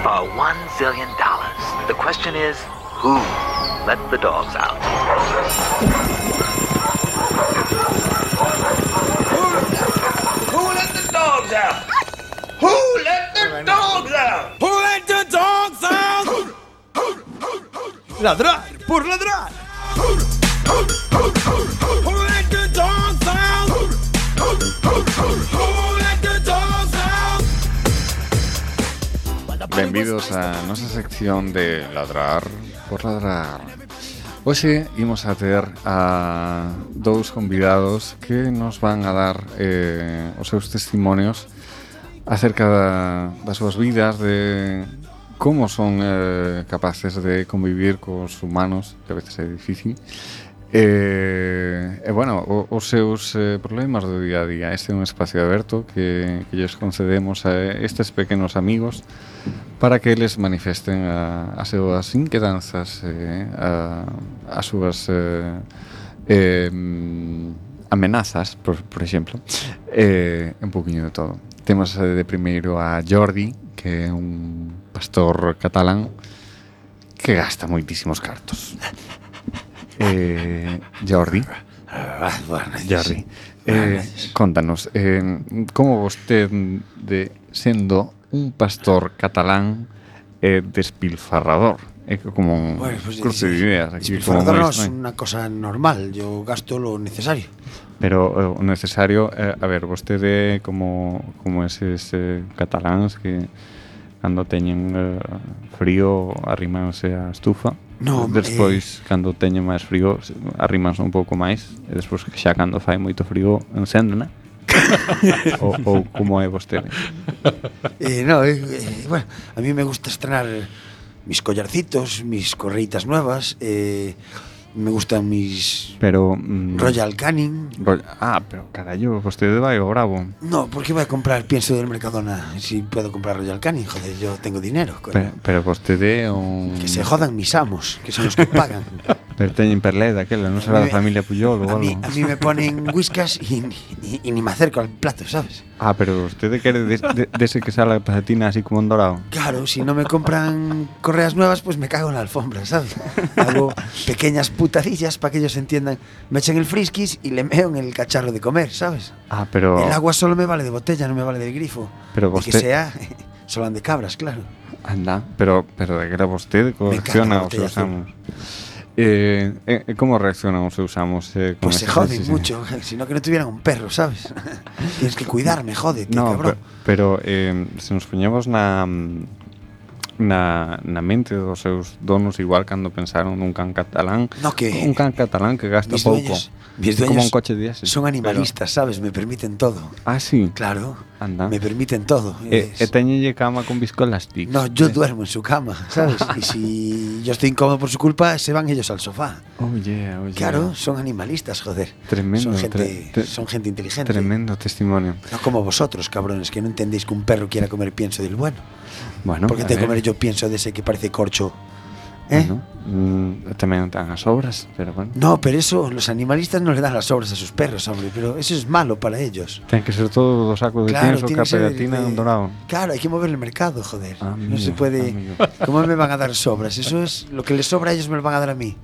for one zillion dollars. The question is, who let the dogs out? Who let the dogs out? Who let the dogs out? Who let the dogs out? Ladrar por ladrar. Who let the dogs out? Who let the dogs out? Benvidos a nosa sección de ladrar por ladrar. Hoxe imos a ter a dous convidados que nos van a dar eh, os seus testimonios acerca da, das súas vidas, de como son eh, capaces de convivir cos humanos, que a veces é difícil, Eh, e bueno, o, os seus eh, problemas do día a día Este é un espacio aberto que, que lles concedemos a estes pequenos amigos Para que eles manifesten a, as súas inquedanzas eh, a, As súas eh, eh, amenazas, por, por exemplo eh, Un poquinho de todo Temos eh, de primeiro a Jordi Que é un pastor catalán Que gasta moitísimos cartos Eh, Jordi. Jordi. Eh, contanos, eh, como vostede de, sendo un pastor catalán eh, despilfarrador? É que como un Bueno, pois, eh, pues, cruce de ideas aquí, como moi Disfrazarnos es extraño. una cosa normal. Yo gasto lo necesario. Pero eh, o necesario, eh, a ver, vostede como, como eses eh, cataláns que cando teñen eh, frío arrímanse á estufa No, despois cando teñen máis frío se- arrímanse un pouco máis e despois xa cando fai moito frío encéndena ou, ou como é vostede Eh, no, eh, eh, bueno, a mí me gusta estrenar mis collarcitos, mis correitas nuevas. eh, me gustan mis pero mm, Royal Canin. Roll- ah, pero carallo, vostede vai ao bravo No, ¿por qué voy a comprar pienso del Mercadona si puedo comprar Royal Canin? Joder, yo tengo dinero. coño. pero, pero vostede é un... que se jodan mis amos, que son los que pagan. pero teñen perlé daquela, non será da familia Puyol ou Eh, A mí, algo a mí me ponen whiskas y, y- y ni me acerco al plato, ¿sabes? Ah, pero usted quiere de, de- de ese que sale la pasatina así como en dorado. Claro, si no me compran correas nuevas, pues me cago en la alfombra, ¿sabes? Hago pequeñas putadillas para que ellos entiendan. Me echen el friskis y le meo en el cacharro de comer, ¿sabes? Ah, pero. El agua solo me vale de botella, no me vale del grifo. Pero Y que usted- sea, solo de cabras, claro. Anda, pero, pero de que era usted encanta coacciona la os botella seus azul. amos. Eh, eh, eh, como reaccionan os seus amos? eh, con Pues se esta joden decisión? mucho, si no que no tuvieran un perro, ¿sabes? Tienes que cuidarme, jódete, No, cabrón. pe- pero, eh, se nos poñemos na na, na mente dos seus donos igual cando pensaron nun can catalán No, que- un can catalán que gasta Mis pouco Este dueños, mis como dueños un coche diésel Son animalistas, ¿sabes? Me permiten todo. pero, ah sí Claro, anda me permiten todo. e, Es- e teñenlle cama con biscolastic No, yo duermo en su cama, ¿sabes? Y si yo estoy incómodo por su culpa, se van ellos al sofá. Oh yeah, oh yeah. Claro, son animalistas, joder. Tremendo, Son gente, tre- tre- son gente inteligente. Tremendo testimonio. No como vosotros, cabrones, que no entendéis que un perro quiera comer pienso del bueno. Bueno, Porque a tengo que ver, comer yo pienso de ese que parece corcho. ¿Eh? bueno, mm, tamén dan as obras, pero bueno. No, pero eso, los animalistas no le dan las obras a sus perros, hombre, pero eso es malo para ellos. Ten que ser todo do saco de Claro, pienso, tiene que capa ser eh, de de- tina de- un dorado. Claro, hay que mover el mercado, joder. no Amigo, se puede. amigo. ¿Cómo me van a dar sobras? Eso es lo que les sobra a ellos me lo van a dar a mí.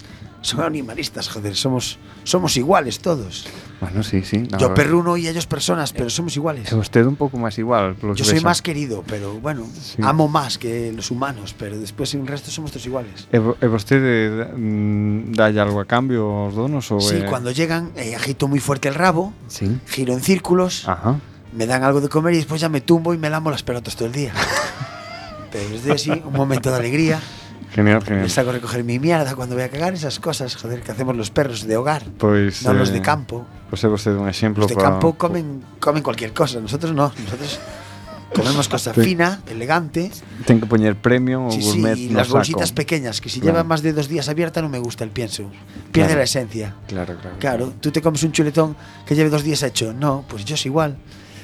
Son animalistas, joder. Somos, somos iguales todos. Bueno, sí, sí. la Yo verdad. perruno y ellos personas, pero somos iguales. É usted un pouco máis igual, polo Yo que soy vexo. más querido, pero bueno, amo más que los humanos, pero después en el resto somos todos iguales. E, vo- e vostede mm, dalle algo a cambio aos donos ou Sí, é- cuando llegan, eh, agito muy fuerte el rabo, Sí. giro en círculos, Ajá. me dan algo de comer y después ya me tumbo y me lamo las pelotas todo el día. pero es de así, un momento de alegría. Genial, genial. Me saco a recoger mi mierda cuando voy a cagar, esas cosas, joder, que hacemos los perros de hogar, Pois no los de eh, campo. Pois é vostede un exemplo Los de para- campo comen, comen cualquier cosa, nosotros no, nosotros comemos cosa Sí. fina, elegante, Ten que poñer premio ou sí, sí, gourmet y no las saco. bolsitas pequeñas, que si Claro. llevan más de dos días abierta no me gusta el pienso, pierde Claro. la esencia. Claro, claro. Claro, tú te comes un chuletón que lleve dos días hecho, no, pues yo es igual,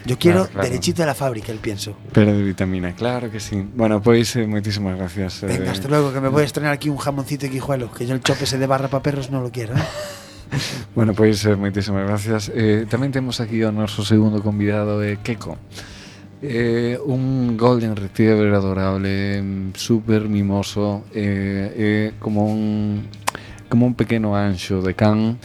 yo quiero Claro, claro. derechito de la fábrica el pienso. Pero de vitamina, claro que sí. Bueno, pois eh, moitísimas gracias. eh, Venga, hasta luego, que me voy a estrenar aquí un jamoncito de quijuelo, que yo el chope ese de barra para perros no lo quiero. ¿eh? Bueno, pois eh, moitísimas gracias. Eh, tamén temos aquí o noso segundo convidado, eh, Keko. Eh, un Golden Retriever adorable, mm, súper mimoso, eh, eh, como, un, como un pequeño ancho de can,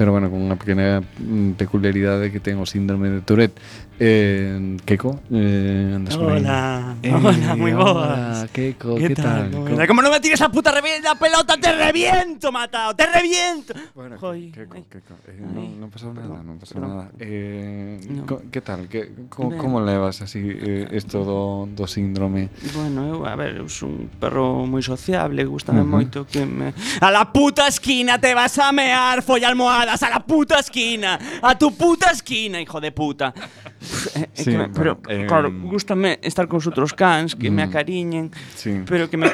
pero bueno, con una pequeña mm, peculiaridad de que tengo síndrome de Tourette. Eh, Keiko, eh, andas por ahí. Hola, Eh, hola, muy hola, boas. Keiko, ¿qué, tal? ¿Cómo ¿Cómo- era? ¿Cómo no me tires la puta revi- la pelota? ¡Te reviento, matado! ¡Te reviento! Bueno, Joy. Keiko, Ay. Keiko, eh, no, Ay. no pasó nada, no pasó perdón. nada. Eh, No. co- ¿Qué tal? ¿Qué, cómo, Ben. ¿Cómo levas así eh, esto do, do síndrome? Bueno, eu, a ver, eu son un perro moi sociable, gustame Ujú. moito que me... A la puta esquina te vas a mear, folla almohadas, a la puta esquina, a tu puta esquina, hijo de puta. Eh, eh, Sí, que me- bueno, pero, eh, claro, gustame estar con os outros cans, que me Mm. acariñen, Sí. pero que me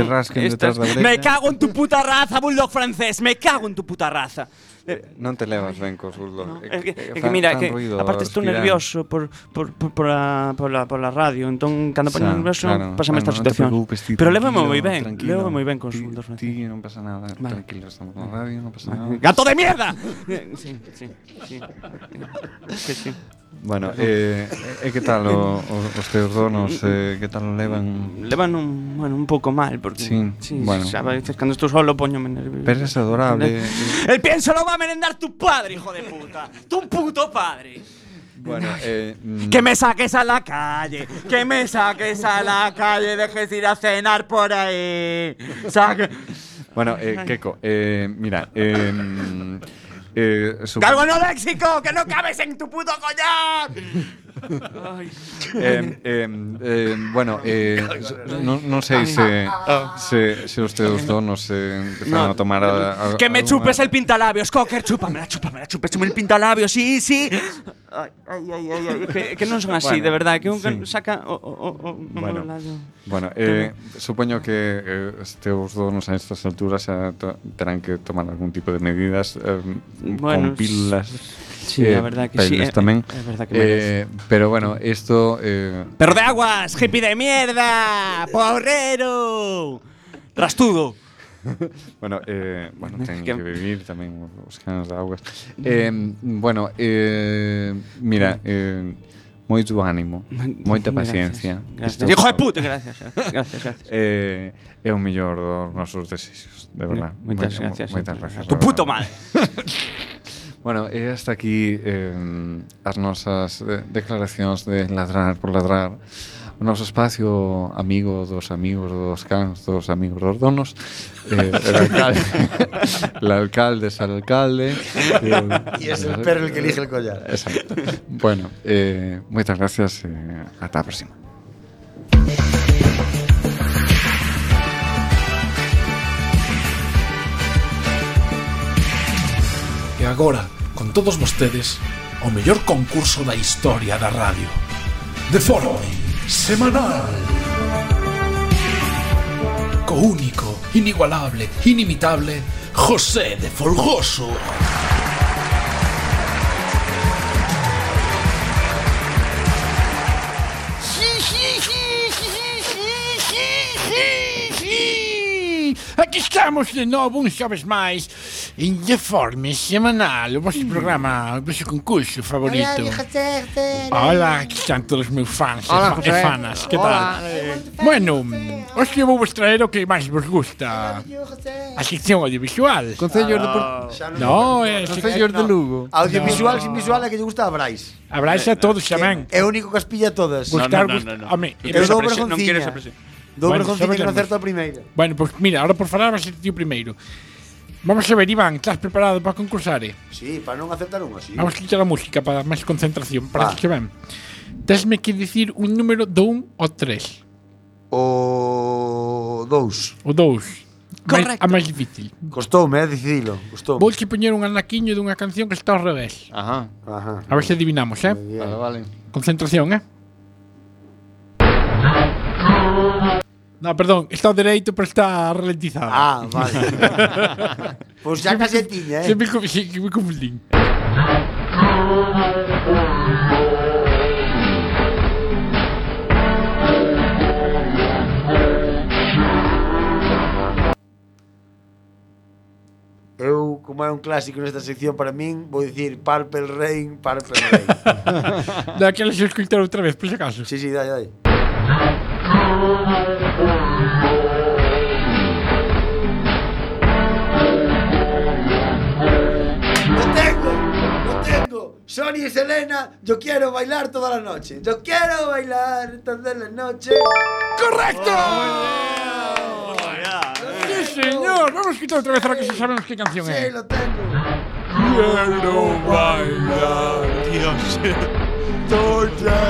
Se rasquen detrás da orella. Me cago en tu puta raza, bulldog francés, me cago en tu puta raza. Eh, Non te levas ben cos bulldog. No, Eh, es que, eh, es que fan- mira, fan que ruido, aparte estoy respiran. nervioso por, por, por, por la, por, la, por la radio, entonces cuando pongo Xa, nervioso claro. pásame Ah, esta no te situación. preocupes, ti, Pero lévame tranquilo, muy bien, tranquilo. lévame muy bien con Ti- sus dos veces. ti, no pasa nada, tranquilo, estamos en la radio, no pasa nada. ¡Gato de mierda! Eh, sí, sí, sí. Que sí. Bueno, eh, eh, que tal o, o, os teus donos, eh, que tal o levan? Levan un, bueno, un pouco mal porque Sí, bueno. xa, a veces cando estou solo pues, poñome nervioso. Pero es adorable. eh. El pienso lo va a merendar tu padre, hijo de puta. Tu puto padre. Bueno, eh, mm, Que me saques a la calle, que me saques a la calle, dejes de ir a cenar por ahí. Saque- bueno, eh, Keiko, eh, mira, eh, mm, eh, sup- ¡Cargo no léxico! ¡Que no cabes en tu puto collar! Ay. Eh, eh, eh, bueno, eh, non, non sei se, se, se os teus donos eh, empezaron a tomar a, a, que alguna- me chupes el pintalabios, Cocker, chúpamela, chúpamela, chúpame, chúpame el pintalabios, sí, sí. Ay, ay, ay, ay, ay, Que, que non son así, Bueno, de verdad, que un sí. saca oh, o, o, o, o un Bueno, lado. Bueno, eh, supoño que eh, os teus donos a estas alturas xa to- terán que tomar algún tipo de medidas eh, Bueno, con pilas. sí, a verdad que sí, peles eh, tamén. é verdad que eh, pero bueno, isto eh, ¡Perro de aguas! ¡Hippie de mierda! ¡Porrero! ¡Rastudo! Bueno, eh, bueno, teñen que- que vivir tamén os cans de augas. Eh, bueno, eh, mira, eh, moito ánimo, moita paciencia. Gracias. Isto- ¡Hijo de puta! Gracias, gracias, gracias. Eh, é o mellor dos nosos desexos, de verdad. Moitas Moi- gracias. Moitas gracias. Tu de puto verdad. mal. Bueno, e hasta aquí eh, as nosas eh, declaracións de ladrar por ladrar. O noso espacio amigo dos amigos dos cans, dos amigos dos donos. Eh, el alcalde, el alcalde es el alcalde. eh, Y es el perro el que elige el collar. Exacto. Bueno, eh, moitas gracias. Eh, ata a próxima. E agora, con todos vostedes, o mellor concurso da historia da radio. De forma semanal. Co único, inigualable, inimitable, José de Folgoso. Aquí estamos de novo un xoves máis en Deforme Semanal, o vosso programa, o vosso concurso favorito. Hola, aquí están todos os meus fans Hola, e, fa- e José. fanas, que Hola. tal? Bueno, hoxe vou vos traer o que máis vos gusta. A sección audiovisual. Concellos de Por- Xa non- No, eh, é... Concellos de Lugo. Audiovisual sin visual é que lle gusta a Brais. A Brais a todos tamén. É o único que as pilla todas. Gustar, no, no, no, Home, Eu dou vergoncinha. Dou Bueno, vergoncinha sobre que non las acerto a primeira. Bueno, pues mira, ahora por falar vas a ser ti o primeiro. Vamos a ver, Iván, estás preparado para concursar? Eh? Sí, para non acertar unha, sí. Vamos a quitar a música para máis concentración, para Va. que ben. Tesme que dicir un número do 1 ao 3. O 2. O 2. Correcto. A máis difícil. Costoume, eh, decidilo. Costoume. Vou che poñer un anaquiño dunha canción que está ao revés. Ajá. Ajá. A ver se adivinamos, eh? Vale, vale. Concentración, eh? No, perdón, está ao dereito, pero está ralentizado. Ah, vale. Pois xa case tiña, eh. Se me, co- se que me confundín. Eu, como é é un clásico nesta sección para min, vou dicir Purple Rain, Purple Rain. Daquela xa escutar outra vez, por se acaso. Sí, sí, dai, dai. Lo tengo, lo tengo. Sony y Selena, yo quiero bailar toda la noche. Yo quiero bailar toda la noche. Oh, ¡Correcto! Sí, señor. Vamos a escuchar outra vez ahora que xa sabemos que canción é. Sí, lo tengo. Quiero bailar, Dios. Toda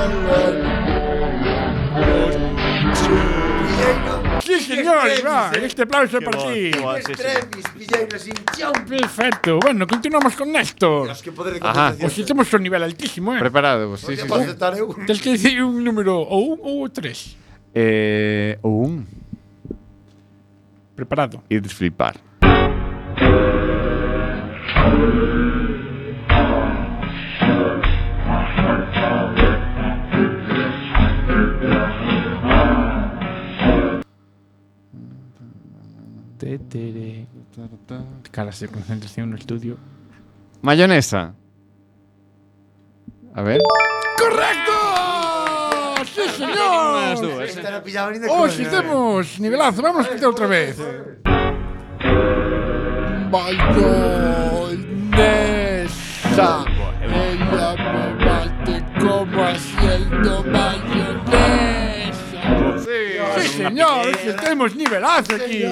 Sí, señor, Iván. Este aplauso é para ti. Trevis, Villeiros, hinchón. Perfecto. Bueno, continuamos con Néstor. Que poder de Ajá. concentración. Os temos un nivel altísimo, eh? Preparado, sí, sí, Podría sí. aceptar eu. Tens que dicir un número ou un ou tres. Eh, un Preparado. y flipar. Caras de concentración no estudio. Mayonesa. A ver. ¡Correcto! ¡Sí, señor! Esta la pillaba ni de Hoxe coña. eh. temos nivelazo, vamos a escutar outra vez. Mayonesa, ella me bate como haciendo mayonesa. Sí, señor, hoxe temos nivelazo aquí.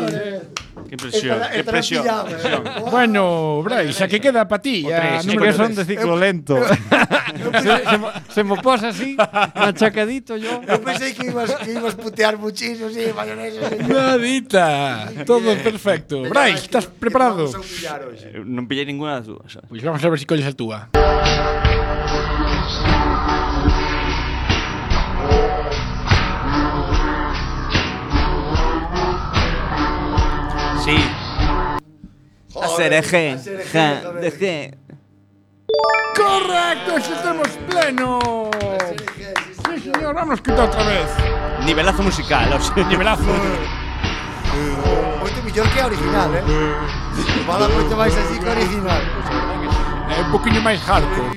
Qué Esta presión, la- qué esta la presión. pillaba, eh. Guau. Bueno, Brais, a que queda para ti? A Creo número que son tres. de ciclo lento. se, se mo- se me posa así, machacadito yo. Eu pensei que ibas, que ibas putear muchísimo, sí, mayonesa. sí. Nadita, todo perfecto. Brais, estás Que te preparado? vamos a humillar hoxe. Eh, Non pillei ninguna das dúas. sabe? Pois vamos a ver se colles a túa. Sí. Joder, Asereje. a ser eje, Ja, joder. deje. Correcto, hoxe temos pleno. Sí, señor, vamos a escutar outra vez. Nivelazo musical, o sea. Nivelazo. Moito mellor que a original, eh? Fala moito máis así que a original. É eh, un poquinho máis hardcore.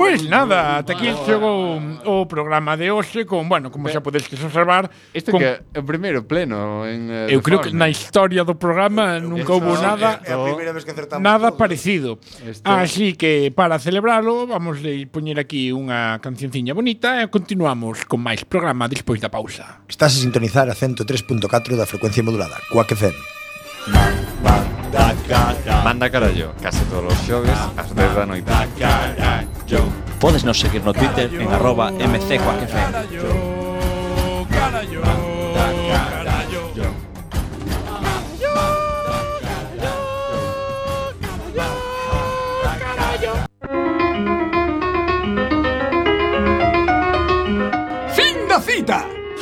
Pois nada, ata aquí chegou o programa de hoxe con, bueno, como xa podedes observar, Este con, que é o primeiro pleno en eh, eu creo que Reforma. na historia do programa nunca houve Isto nada É a primeira vez que acertamos. nada todos. parecido. Este- Así que para celebralo vamos a poñer aquí unha cancionciña bonita e continuamos con máis programa despois da pausa. Estás a sintonizar a 103.4 da frecuencia modulada, Quack FM. Manda carallo, case todos os xoves ás 10 da noite. Podes nos seguir no Twitter en arroba mcjoaquefm.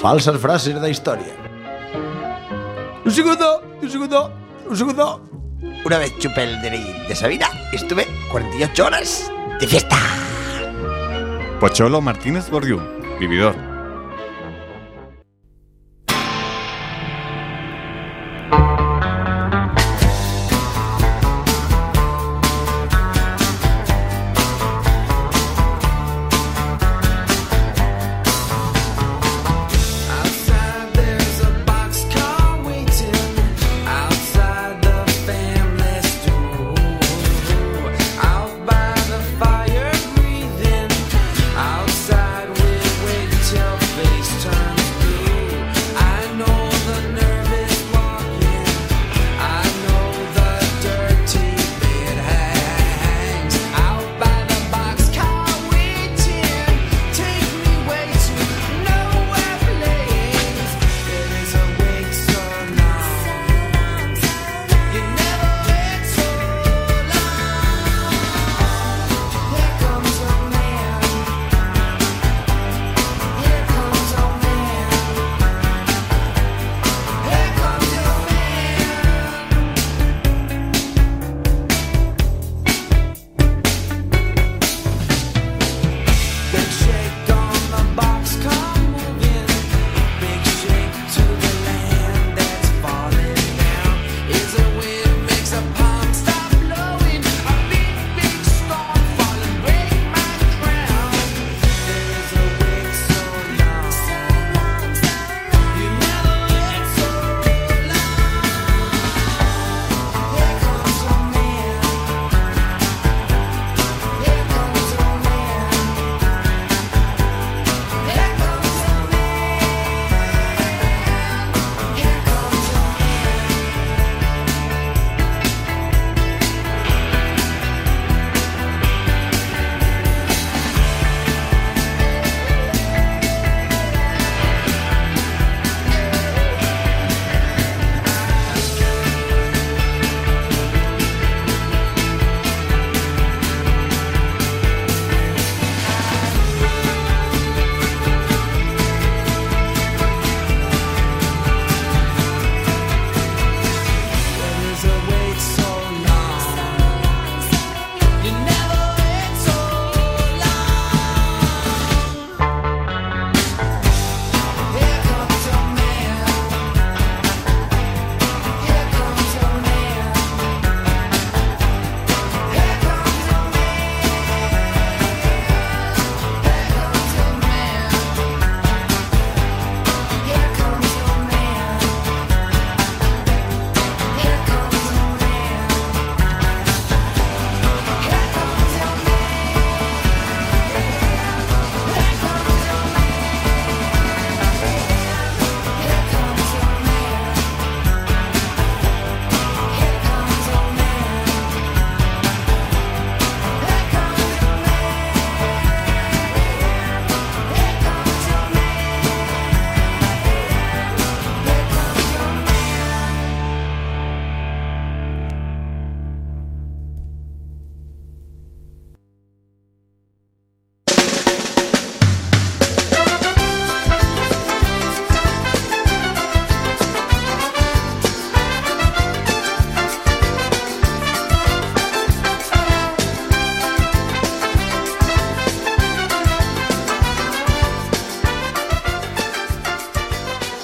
Falsas frases da historia. Un segundo, un segundo, un segundo. Una vez chupé el DNI de Sabina, estuve 48 horas de fiesta. Pocholo Martínez Bordiú, vividor. Outside there's a boxcar waiting outside the family store. Out by the fire breathing. Outside we wait till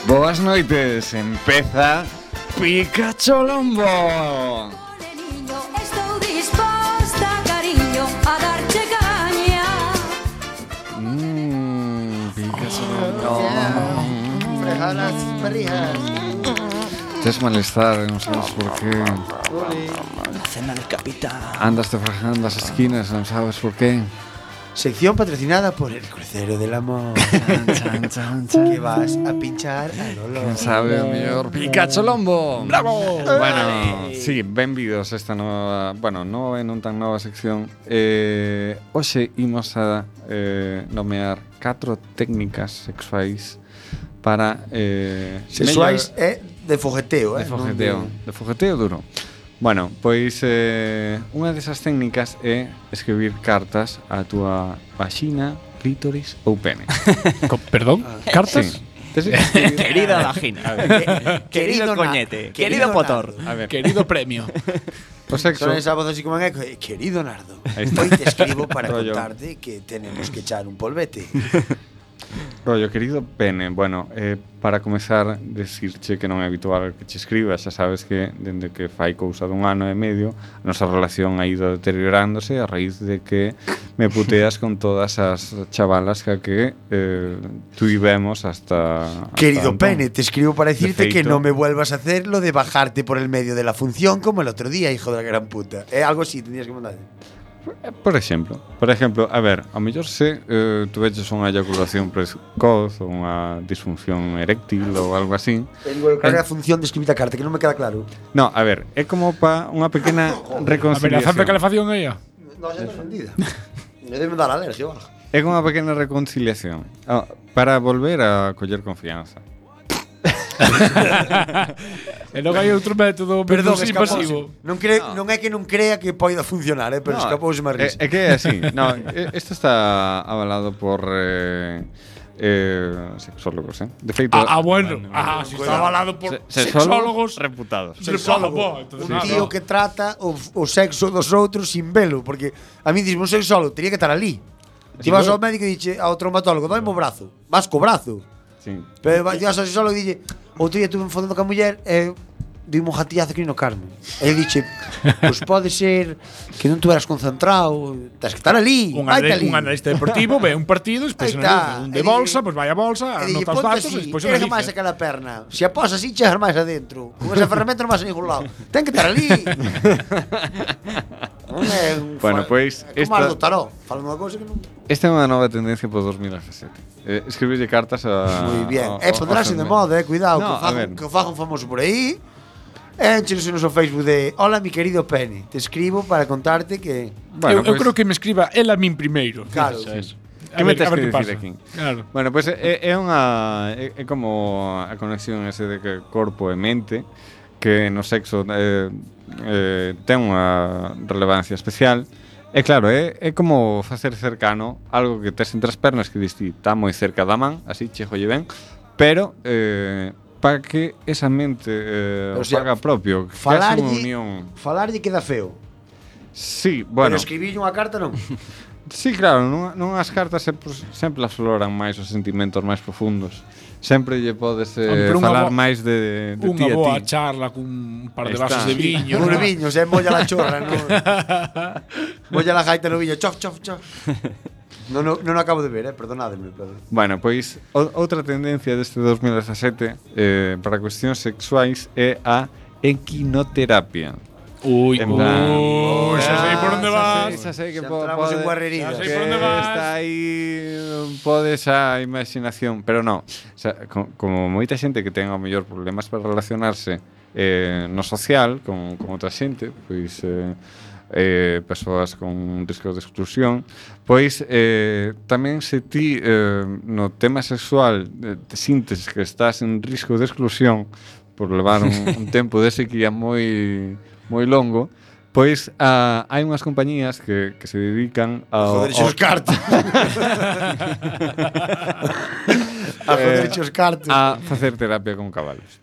Boas noites, empeza Pikachu Lombo. Estou disposta, cariño, a darte caña. Mmm, Pikachu Lombo. Frejadas, perrijas. Te has malestar, no sabes por qué. La cena del capitán. Andas te frajando las esquinas, no sabes por qué. Sección patrocinada por el Crucero del Amor. que vas a pinchar a Lolo. ¿Quién sabe o mellor Pikachu Lombo? Bravo! Bueno, sí, benvidos a esta nova, bueno, no en un tan nova sección. Eh, hoxe imos a eh, nomear catro técnicas sexuais para eh, Sexuais é de fogueteo, eh? de fogueteo, non de fogueteo duro. Bueno, pois eh, unha desas técnicas é escribir cartas á túa vaxina, clítoris ou pene. Co- Perdón, cartas? Sí. Tes que escribir- Querida vagina. Querido, Querido Nato. coñete. Querido Querido potor. A ver, Querido premio. o de- sexo Son esa voz así como en eco. eh, Querido Nardo, Ahí está. hoy te escribo para Rollo. Ah, contarte que tenemos que echar un polvete. Rollo, querido pene, bueno, eh, para comezar, decirche que non é habitual que che escribas, xa sabes que dende que fai cousa dun ano e medio, a nosa relación ha ido deteriorándose a raíz de que me puteas con todas as chavalas que, que eh, tuivemos hasta... hasta Querido entón. pene, te escribo para decirte que feito. no me vuelvas a hacer lo de bajarte por el medio de la función como el otro día, hijo de la gran puta. Eh, algo así tendrías que mandar. Eh, Por exemplo, por exemplo, a ver, ao mellor se eh, tuveches unha eyaculación precoz ou unha disfunción eréctil ou algo así, Involucrar la función de escribir la carta, que no me queda claro. No, a ver, é como pa unha pequena A ver, a reconciliación. Zampe calefacción aí, ó. No, ya está entendida. Me debe dar alergia, baja. É como unha pequena reconciliación ah, para volver a coller confianza. E non hai outro método menos pues invasivo. Non, cre non é que non crea que poida funcionar, eh, pero no, escapouse má risa. É, é que é así. No, é- isto está avalado por eh, eh, sexólogos, eh? De feito, Ah, ah, bueno. Ah, si está avalado por se- sexólogos. reputados. Sexólogo. Bo, entonces, un nada. tío que trata o, o sexo dos outros sin velo, porque a mí dixme un sexólogo, teria que estar ali. Ti vas ao médico e dixe ao traumatólogo, dame o brazo, vas co brazo. Sí. Pero vas vas ao sexólogo e dixe, outro día estuve enfadando ca muller e dime un jatillazo que no carme. E ele dixe, pois pode ser que non tuveras concentrado, tens que estar ali, Un, vai ali. anali- un analista deportivo ve un partido, despois Ahí está. analiza. Un de E dille- bolsa, pois vai a bolsa, E dille, anota os ponte datos, así, e despois ergue máis analiza. aquela perna. Se a pos así, chegas máis adentro. Con esa ferramenta non vas a ningún lado. Ten que estar ali. non é un Bueno, fa- pois, É como esta- algo taró. Falo unha cousa que non... Esta é unha nova tendencia por 2017. Eh, escribirlle cartas a... Moi bien. ao- É ao- ponderase ao de xermen. moda, eh, cuidado. ah, No, que, o a fago, ver. que o fago un famoso por aí. E enchenos no Facebook de Hola, mi querido Penny. Te escribo para contarte que... Bueno, pues eu, eu pois- creo que me escriba el a min primeiro. Claro. Fíjese, A Que ver, me tes a ver que que dicir pasa. aquí? Claro. Bueno, pois pues, é, é unha é, é eh, como a conexión ese de que corpo e mente que no sexo eh, eh, ten unha relevancia especial. E claro, é, é como facer cercano algo que tes entre as pernas que diste está moi cerca da man, así chejo lle ben, pero eh, para que esa mente eh, O o sea, faga propio, que haxa unha Falarlle... unión. Falarlle queda feo. Sí, Bueno. bueno. Pero escribirlle unha carta non. Sí, claro, nun, nunhas cartas sempre, sempre afloran máis os sentimentos máis profundos. Sempre lle podes eh, Hombre, unha falar boa- máis de, de ti Unha a boa ti. charla cun par de Está. vasos de viño. Por ¿no? viño, se molla la chorra, non? molla la gaita no viño, chof, chof, chof. Non no, no acabo de ver, eh, perdonadme, perdón. Bueno, pois o, outra tendencia deste 2017 eh, para cuestións sexuais é a equinoterapia. Ui, En plan- ui, xa sei por onde Xa vas. sei, Xa sei que Xa po- entramos en pode- guarrerías. Xa sei que por onde vas. Está aí pode xa a imaginación, pero non. Xa, co- como moita xente que ten ao mellor problemas para relacionarse eh, no social con, con outra xente, pois eh, eh, persoas con risco de exclusión, pois eh, tamén se ti eh, no tema sexual eh, te sintes que estás en risco de exclusión por levar un, un tempo de sequía moi moi longo, pois ah, hai unhas compañías que, que se dedican ao, Joder, xos ao, cartos. A joder, xos cartos. Eh, a facer terapia con cabalos.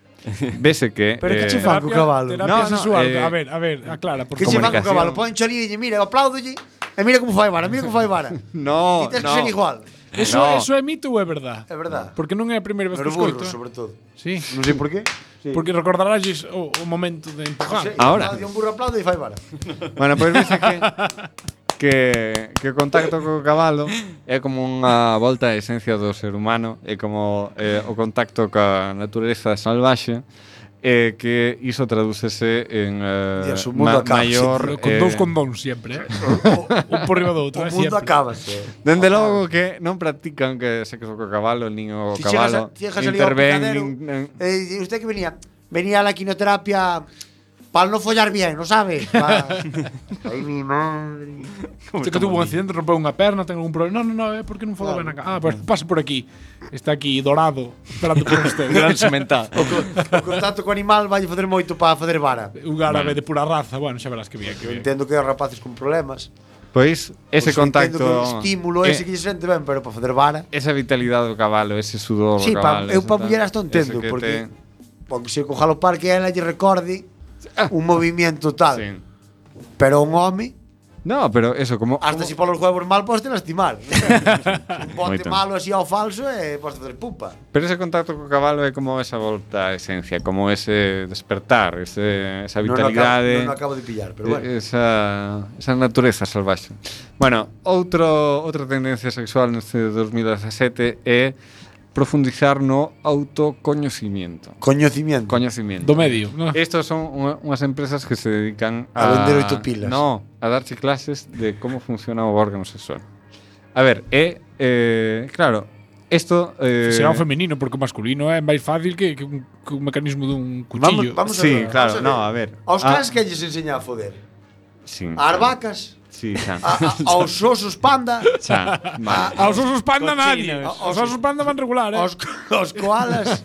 Vese que eh, Pero que che fan? Franco Terapia- Caballo. Terapia No, no, sexual. eh, a ver, a ver, aclara, por Que se van co comunicación. Eh, cabalo, pon cholí e dille, mira, aplaudolle. E mira como fai vara, mira como fai vara. No, Ti tes que no. ser igual. Eso, No. eso é mito ou é verdade? É verdade. Porque non é a primeira vez Pero que escoito. burro, eh. sobre todo. Sí. Non sei por qué. Sí. Porque recordarás o, o momento de empujar. Sí, Ah, Ahora. aplaude, Un burro aplaude e fai vara. Bueno, pois pues, que, que, que o contacto co cabalo é como unha volta á esencia do ser humano, é como eh, o contacto ca natureza salvaxe, eh, que iso tradúcese en eh, Dios, o mundo ma acaba, maior... sí, con dous condóns sempre, eh. Un por riba do outro, eh, sempre. Dende logo que non practican que sexo co cabalo, nin o Si llegas a- cabalo si llegas a ligar interven, picadero, nin, nin, eh, y usted que venía, venía a la quinoterapia para no follar bien, ¿no sabe? Pa- Ay, mi madre. Este que tuvo un accidente, rompeu unha perna, ten algún problema. Non, non, non, é porque non falou ben acá. Ah, pues pasa por aquí. Está aquí dorado, esperando por usted. Gran semental. O co- o contacto co animal vai facer moito para facer vara. Un árabe de pura raza, bueno, xa verás que bien. Que bien. Entendo que hai rapaces con problemas. Pois Pois ese Entendo contacto que o estímulo eh, ese que lle sente ben, pero para facer vara. esa vitalidade do cabalo, ese sudor Sí, do pa, cabalo. eu ese para tal, mulleras non ese entendo, que porque te- porque se coja o parque ela lle recorde Ah. un movimiento tal. Pero un home No, pero eso como Hasta si polos huevos mal podes te lastimar. un bote Moito. malo así ao falso e podes facer pupa. Pero ese contacto co cabalo é como esa volta á esencia, como ese despertar, ese, esa Non o acabo- vitalidade. non o acabo de pillar, pero eh, bueno. Esa, esa natureza salvaxe. Bueno, outro, outra tendencia sexual neste 2017 é profundizar no autocoñecimiento. Coñecimiento. Coñecimiento. Do medio, no? Estos son unha- unhas empresas que se dedican A a... vender oito pilas. No, a darche clases de como funciona o órgano sexual. A ver, é... Eh, claro, isto... Eh, Será un femenino, porque o masculino é máis fácil que, que, un, que un mecanismo dun cuchillo. sí, claro, no, a ver. Aos Ah, cans que lles enseña a foder. sí. Ás vacas. Sí, xa. A, a, aos osos panda. Xa, vale. Aos Ah, osos panda nadie. Aos osos panda van regular, eh. Aos, aos koalas.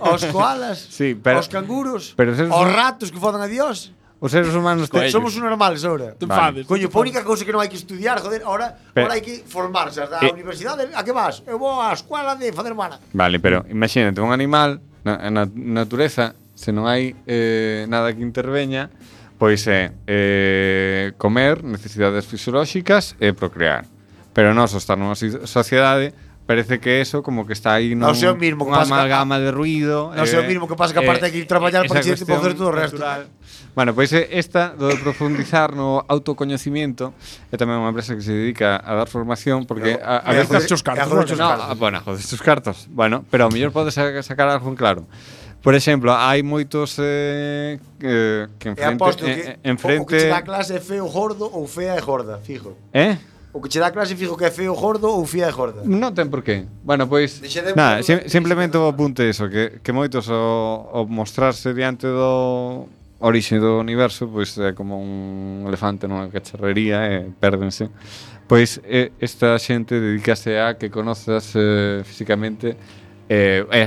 aos koalas. Sí, pero- aos canguros. pero seres aos hum- ratos que fodan a Dios. Os seres humanos te- Somos unos normales ahora. Te enfades, Vale. Coño, pa única cousa que non hai que estudiar, joder, ahora, Pero- ahora hai que formarse. A Eh. universidade, a que vas? Eu vou á escola de fazer vara. Vale, pero imagínate un animal na, na natureza, se non hai eh, nada que interveña, pois é eh, comer, necesidades fisiolóxicas e procrear. Pero nós, ao estar nunha si- sociedade, parece que eso como que está aí Non sei o mismo que unha pasa ca- amalgama de ruido. eh, Non sei o mismo que pasa que aparte hai que ir traballar para que che poder facer poder todo o resto. Bueno, pois é esta do de profundizar no autocoñecimiento é tamén unha empresa que se dedica a dar formación porque Pero, a, a e a veces joder- chos cartos, e a joder chos No, cartos. a- bueno, joder chos cartos. Bueno, pero ao mellor podes sa- sacar algo en claro. Por exemplo, hai moitos eh, eh, E que enfrente aposto eh, que eh, enfrente o que che dá clase é feo gordo ou fea e gorda, fijo. Eh? O que che dá clase fijo que é feo gordo ou fea e gorda. Non ten por qué. Bueno, pois Deixaremos nada, sim, simplemente o apunte eso que que moitos o, o mostrarse diante do orixe do universo, pois é como un elefante nunha cacharrería e pérdense. Pois eh, esta xente dedícase a que conozas eh, físicamente eh, e as